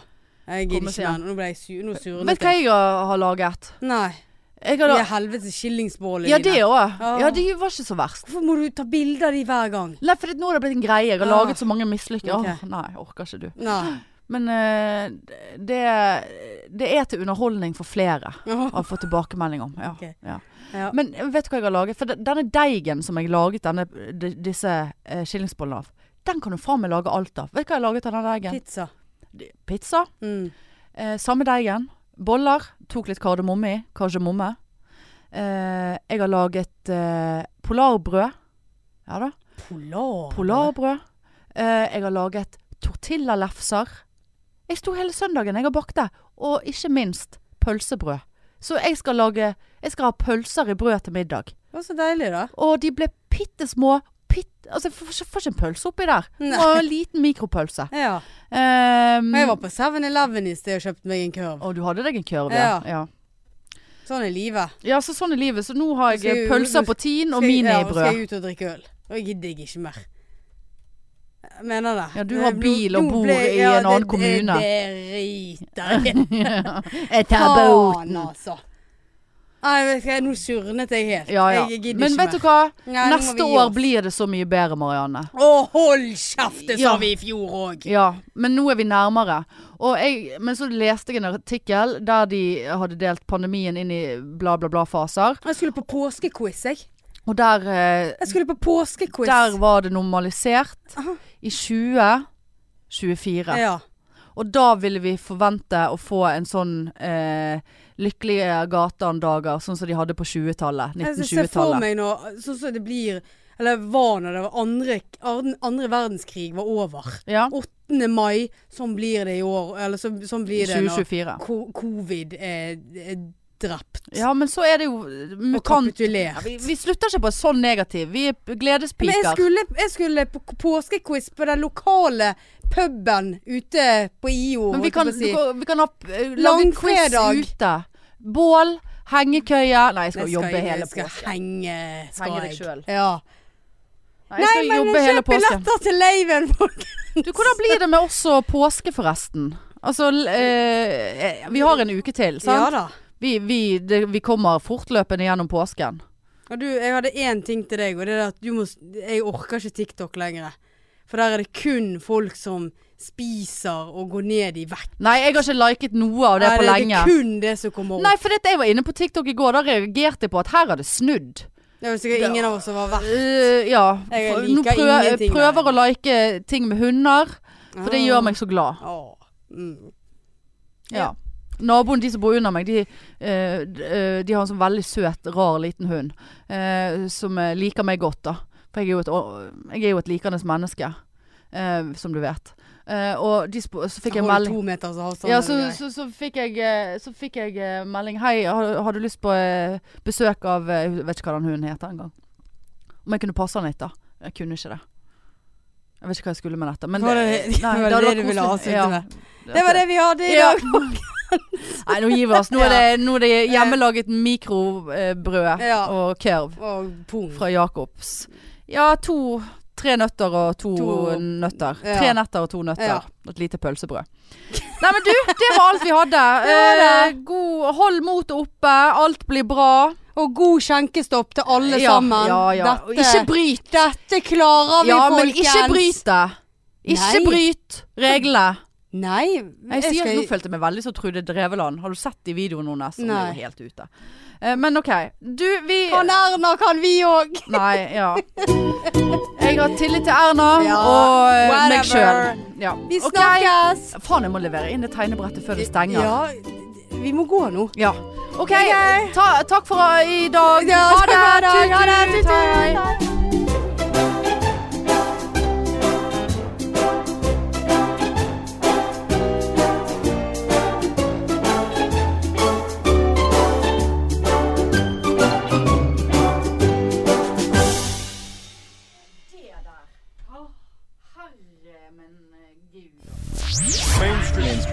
B: Jeg gidder
A: Komme seg
B: ikke mer. Nå ble jeg sur. Nå surnet
A: Vet du hva jeg har har laget?
B: Nei.
A: Jeg
B: De
A: har,
B: er helvete skillingsbålene
A: ja, det òg.
B: Ja.
A: Ja, de var ikke så verst.
B: Hvorfor må du ta bilder av de hver gang?
A: Nei, for det- nå har det blitt en greie. Jeg har
B: Ah.
A: laget så mange mislykker.
B: Ok.
A: Åh, nei, orker ikke du.
B: Nei.
A: Men eh, det, det er til underholdning for flere. Har jeg fått tilbakemelding om. Ja.
B: Ok.
A: ja.
B: Ja.
A: Men vet du hva jeg har laget? For de- denne deigen som jeg laget denne, de, disse eh, skillingsbollene av, den kan du faen meg lage alt av. Vet du hva jeg har laget av den deigen?
B: Pizza.
A: De- Pizza.
B: Mm.
A: Eh, samme deigen. Boller. Tok litt kardemomme i. Kardemomme. Eh, jeg har laget eh, polarbrød. Ja da.
B: Polar.
A: Polarbrød. Eh, jeg har laget tortillalefser. Jeg sto hele søndagen jeg har bakt det. Og ikke minst pølsebrød. Så jeg skal lage Jeg skal ha pølser i brød til middag.
B: Det var så deilig, da.
A: Og de ble bitte små. Pitt, altså, jeg får, ikke- får ikke en pølse oppi der. Det var en liten mikropølse.
B: Ja.
A: Um,
B: Men jeg var på 7-Eleven i sted og kjøpte meg en kurv.
A: og du hadde deg en kurv,
B: Ja.
A: ja. ja.
B: Sånn er livet.
A: Ja, så sånn er livet. Så nå har
B: Skal
A: jeg
B: jeg-
A: pølser på tien og
B: Skal jeg- Ja, skal
A: Sånn minibrød.
B: jeg ut og drikke øl. Og jeg gidder jeg ikke mer. Jeg mener det. Eh,
A: Ja, du har
B: Nå-
A: bil og
B: nå
A: bor
B: ble-
A: i
B: ja,
A: en annen
B: det-
A: kommune.
B: Det driter jeg i.
A: Jeg
B: Faen, altså. Nei, vet du hva, nå surnet jeg helt.
A: Ja, ja.
B: Jeg gidder
A: Men
B: ikke
A: vet du
B: mer.
A: hva?
B: Nei, nå må vi
A: Neste
B: gi
A: år
B: oss.
A: blir det så mye bedre, Marianne.
B: Å, hold kjeft! Det sa
A: Ja.
B: vi i fjor òg.
A: Ja, men nå er vi nærmere. Og jeg, men så leste jeg en artikkel der de hadde delt pandemien inn i bla, bla, bla-faser.
B: Jeg skulle på påskequiz, jeg.
A: Og der, eh,
B: Jeg skulle på påskequiz.
A: der var det normalisert
B: Aha.
A: i 2024.
B: Ja.
A: Og da ville vi forvente å få en sånn eh, lykkelige gateandager, sånn som de hadde på 20-tallet.
B: Jeg ser for
A: 1920-tallet.
B: meg nå, sånn som det blir Eller var når det var andre, an- andre verdenskrig var over.
A: Ja.
B: 8. mai, sånn blir det i år. Eller så, sånn blir det når
A: 2024.
B: ko- covid er, er drept
A: Ja, men så er det jo
B: og
A: mutant...
B: kapitulert.
A: Vi, vi slutter ikke på en sånn negativ. Vi er p-
B: Men jeg
A: gledespiker.
B: skulle, jeg skulle på k- påskequiz på den lokale puben ute på IO.
A: Men vi
B: holdt jeg
A: kan,
B: på å
A: du
B: si.
A: kan- vi kan ha p- eh, lage quiz
B: Langfredag.
A: ute. Bål, hengekøye Nei, jeg skal,
B: Nei,
A: jobbe
B: jeg-
A: hele
B: jeg skal
A: påsken.
B: henge, skal
A: Henge deg
B: jeg.
A: selv.
B: Ja.
A: Nei, jeg skal jobbe hele
B: kjøp
A: påsken.
B: billetter til leiven, folkens!
A: Du, hvordan blir det med oss og påske, forresten? Altså, l- eh, vi har en uke til, sant?
B: da.
A: Vi, vi, det, vi kommer fortløpende gjennom påsken.
B: Og du, jeg hadde én ting til deg, og det er at du må s- Jeg orker ikke TikTok lenger. For der er det kun folk som spiser og går ned i vekt.
A: Nei, jeg har ikke liket noe av det
B: Nei,
A: på
B: det,
A: lenge.
B: er kun det som kommer opp.
A: Nei, for dette, jeg var inne på TikTok i går, da reagerte jeg på at her har det snudd.
B: Det er jo sikkert ingen av oss som var verdt
A: Eh, ja.
B: Jeg
A: For,
B: liker
A: nå prøv,
B: ingenting av
A: prøver å like ting med hunder, for det gjør meg så glad.
B: Åh. Mm.
A: Ja. Naboen, de som bor under meg, de, eh, d- eh, de har en sånn veldig søt, rar liten hund. eh, som eh, liker meg godt, da. For jeg er jo et, å- jeg er jo et likandes menneske, eh, som du vet. Eh, og de sp så fikk jeg
B: Holder
A: melding
B: to meters avstand.
A: Ja,
B: er det
A: så,
B: greit.
A: så, så, fikk jeg, eh, så fikk jeg eh, melding Hei, har, har du lyst på eh, besøk av eh, Jeg vet ikke hva den hunden heter engang. Om jeg kunne passe han litt, da. Jeg kunne ikke det. Jeg vet ikke hva jeg skulle med dette. Men
B: Var det det var det
A: hadde
B: du
A: vært
B: ville
A: koselig.
B: avslutte
A: Ja.
B: med? Det var det vi hadde i
A: Ja.
B: dag.
A: Nei, nå gir vi oss. Nå er det, nå er det hjemmelaget mikrobrød
B: Eh. Ja.
A: og kurv
B: Og pung.
A: fra Jacobs. Ja, to Tre nøtter og to,
B: To-
A: nøtter.
B: Ja.
A: Tre netter og to nøtter.
B: Ja.
A: Og Et lite pølsebrød. Nei, men du, det var alt vi hadde. Eh, god, hold motet oppe. Alt blir bra.
B: Og god skjenkestopp til alle
A: ja,
B: sammen.
A: Ja, ja. Og
B: Dette,
A: Ikke bryt.
B: dette klarer vi,
A: Ja, men
B: folkens.
A: ikke bryt det. Ikke
B: Nei.
A: bryt reglene.
B: Nei,
A: Jeg sier,
B: skal-
A: Nå følte jeg meg veldig som Trude Dreveland. Har du sett de videoene hennes? Hun er
B: Nei.
A: jo helt ute. Eh, men OK. Du, vi
B: Kan Erna, kan vi òg?
A: Nei, ja. Jeg har tillit til Erna
B: Ja,
A: og eh, meg
B: whatever.
A: sjøl. Ja.
B: Vi
A: Ok.
B: snakkes.
A: Faen, jeg må levere inn det tegnebrettet før det stenger.
B: Ja, vi må gå nå.
A: Ja. OK.
B: Ok.
A: Ta, takk for eh, i dag.
B: Ja,
A: ha det.
B: ha det,
A: Tut,
B: ha det,
A: tut,
B: tut, tut.
A: hei.
C: Mainstream.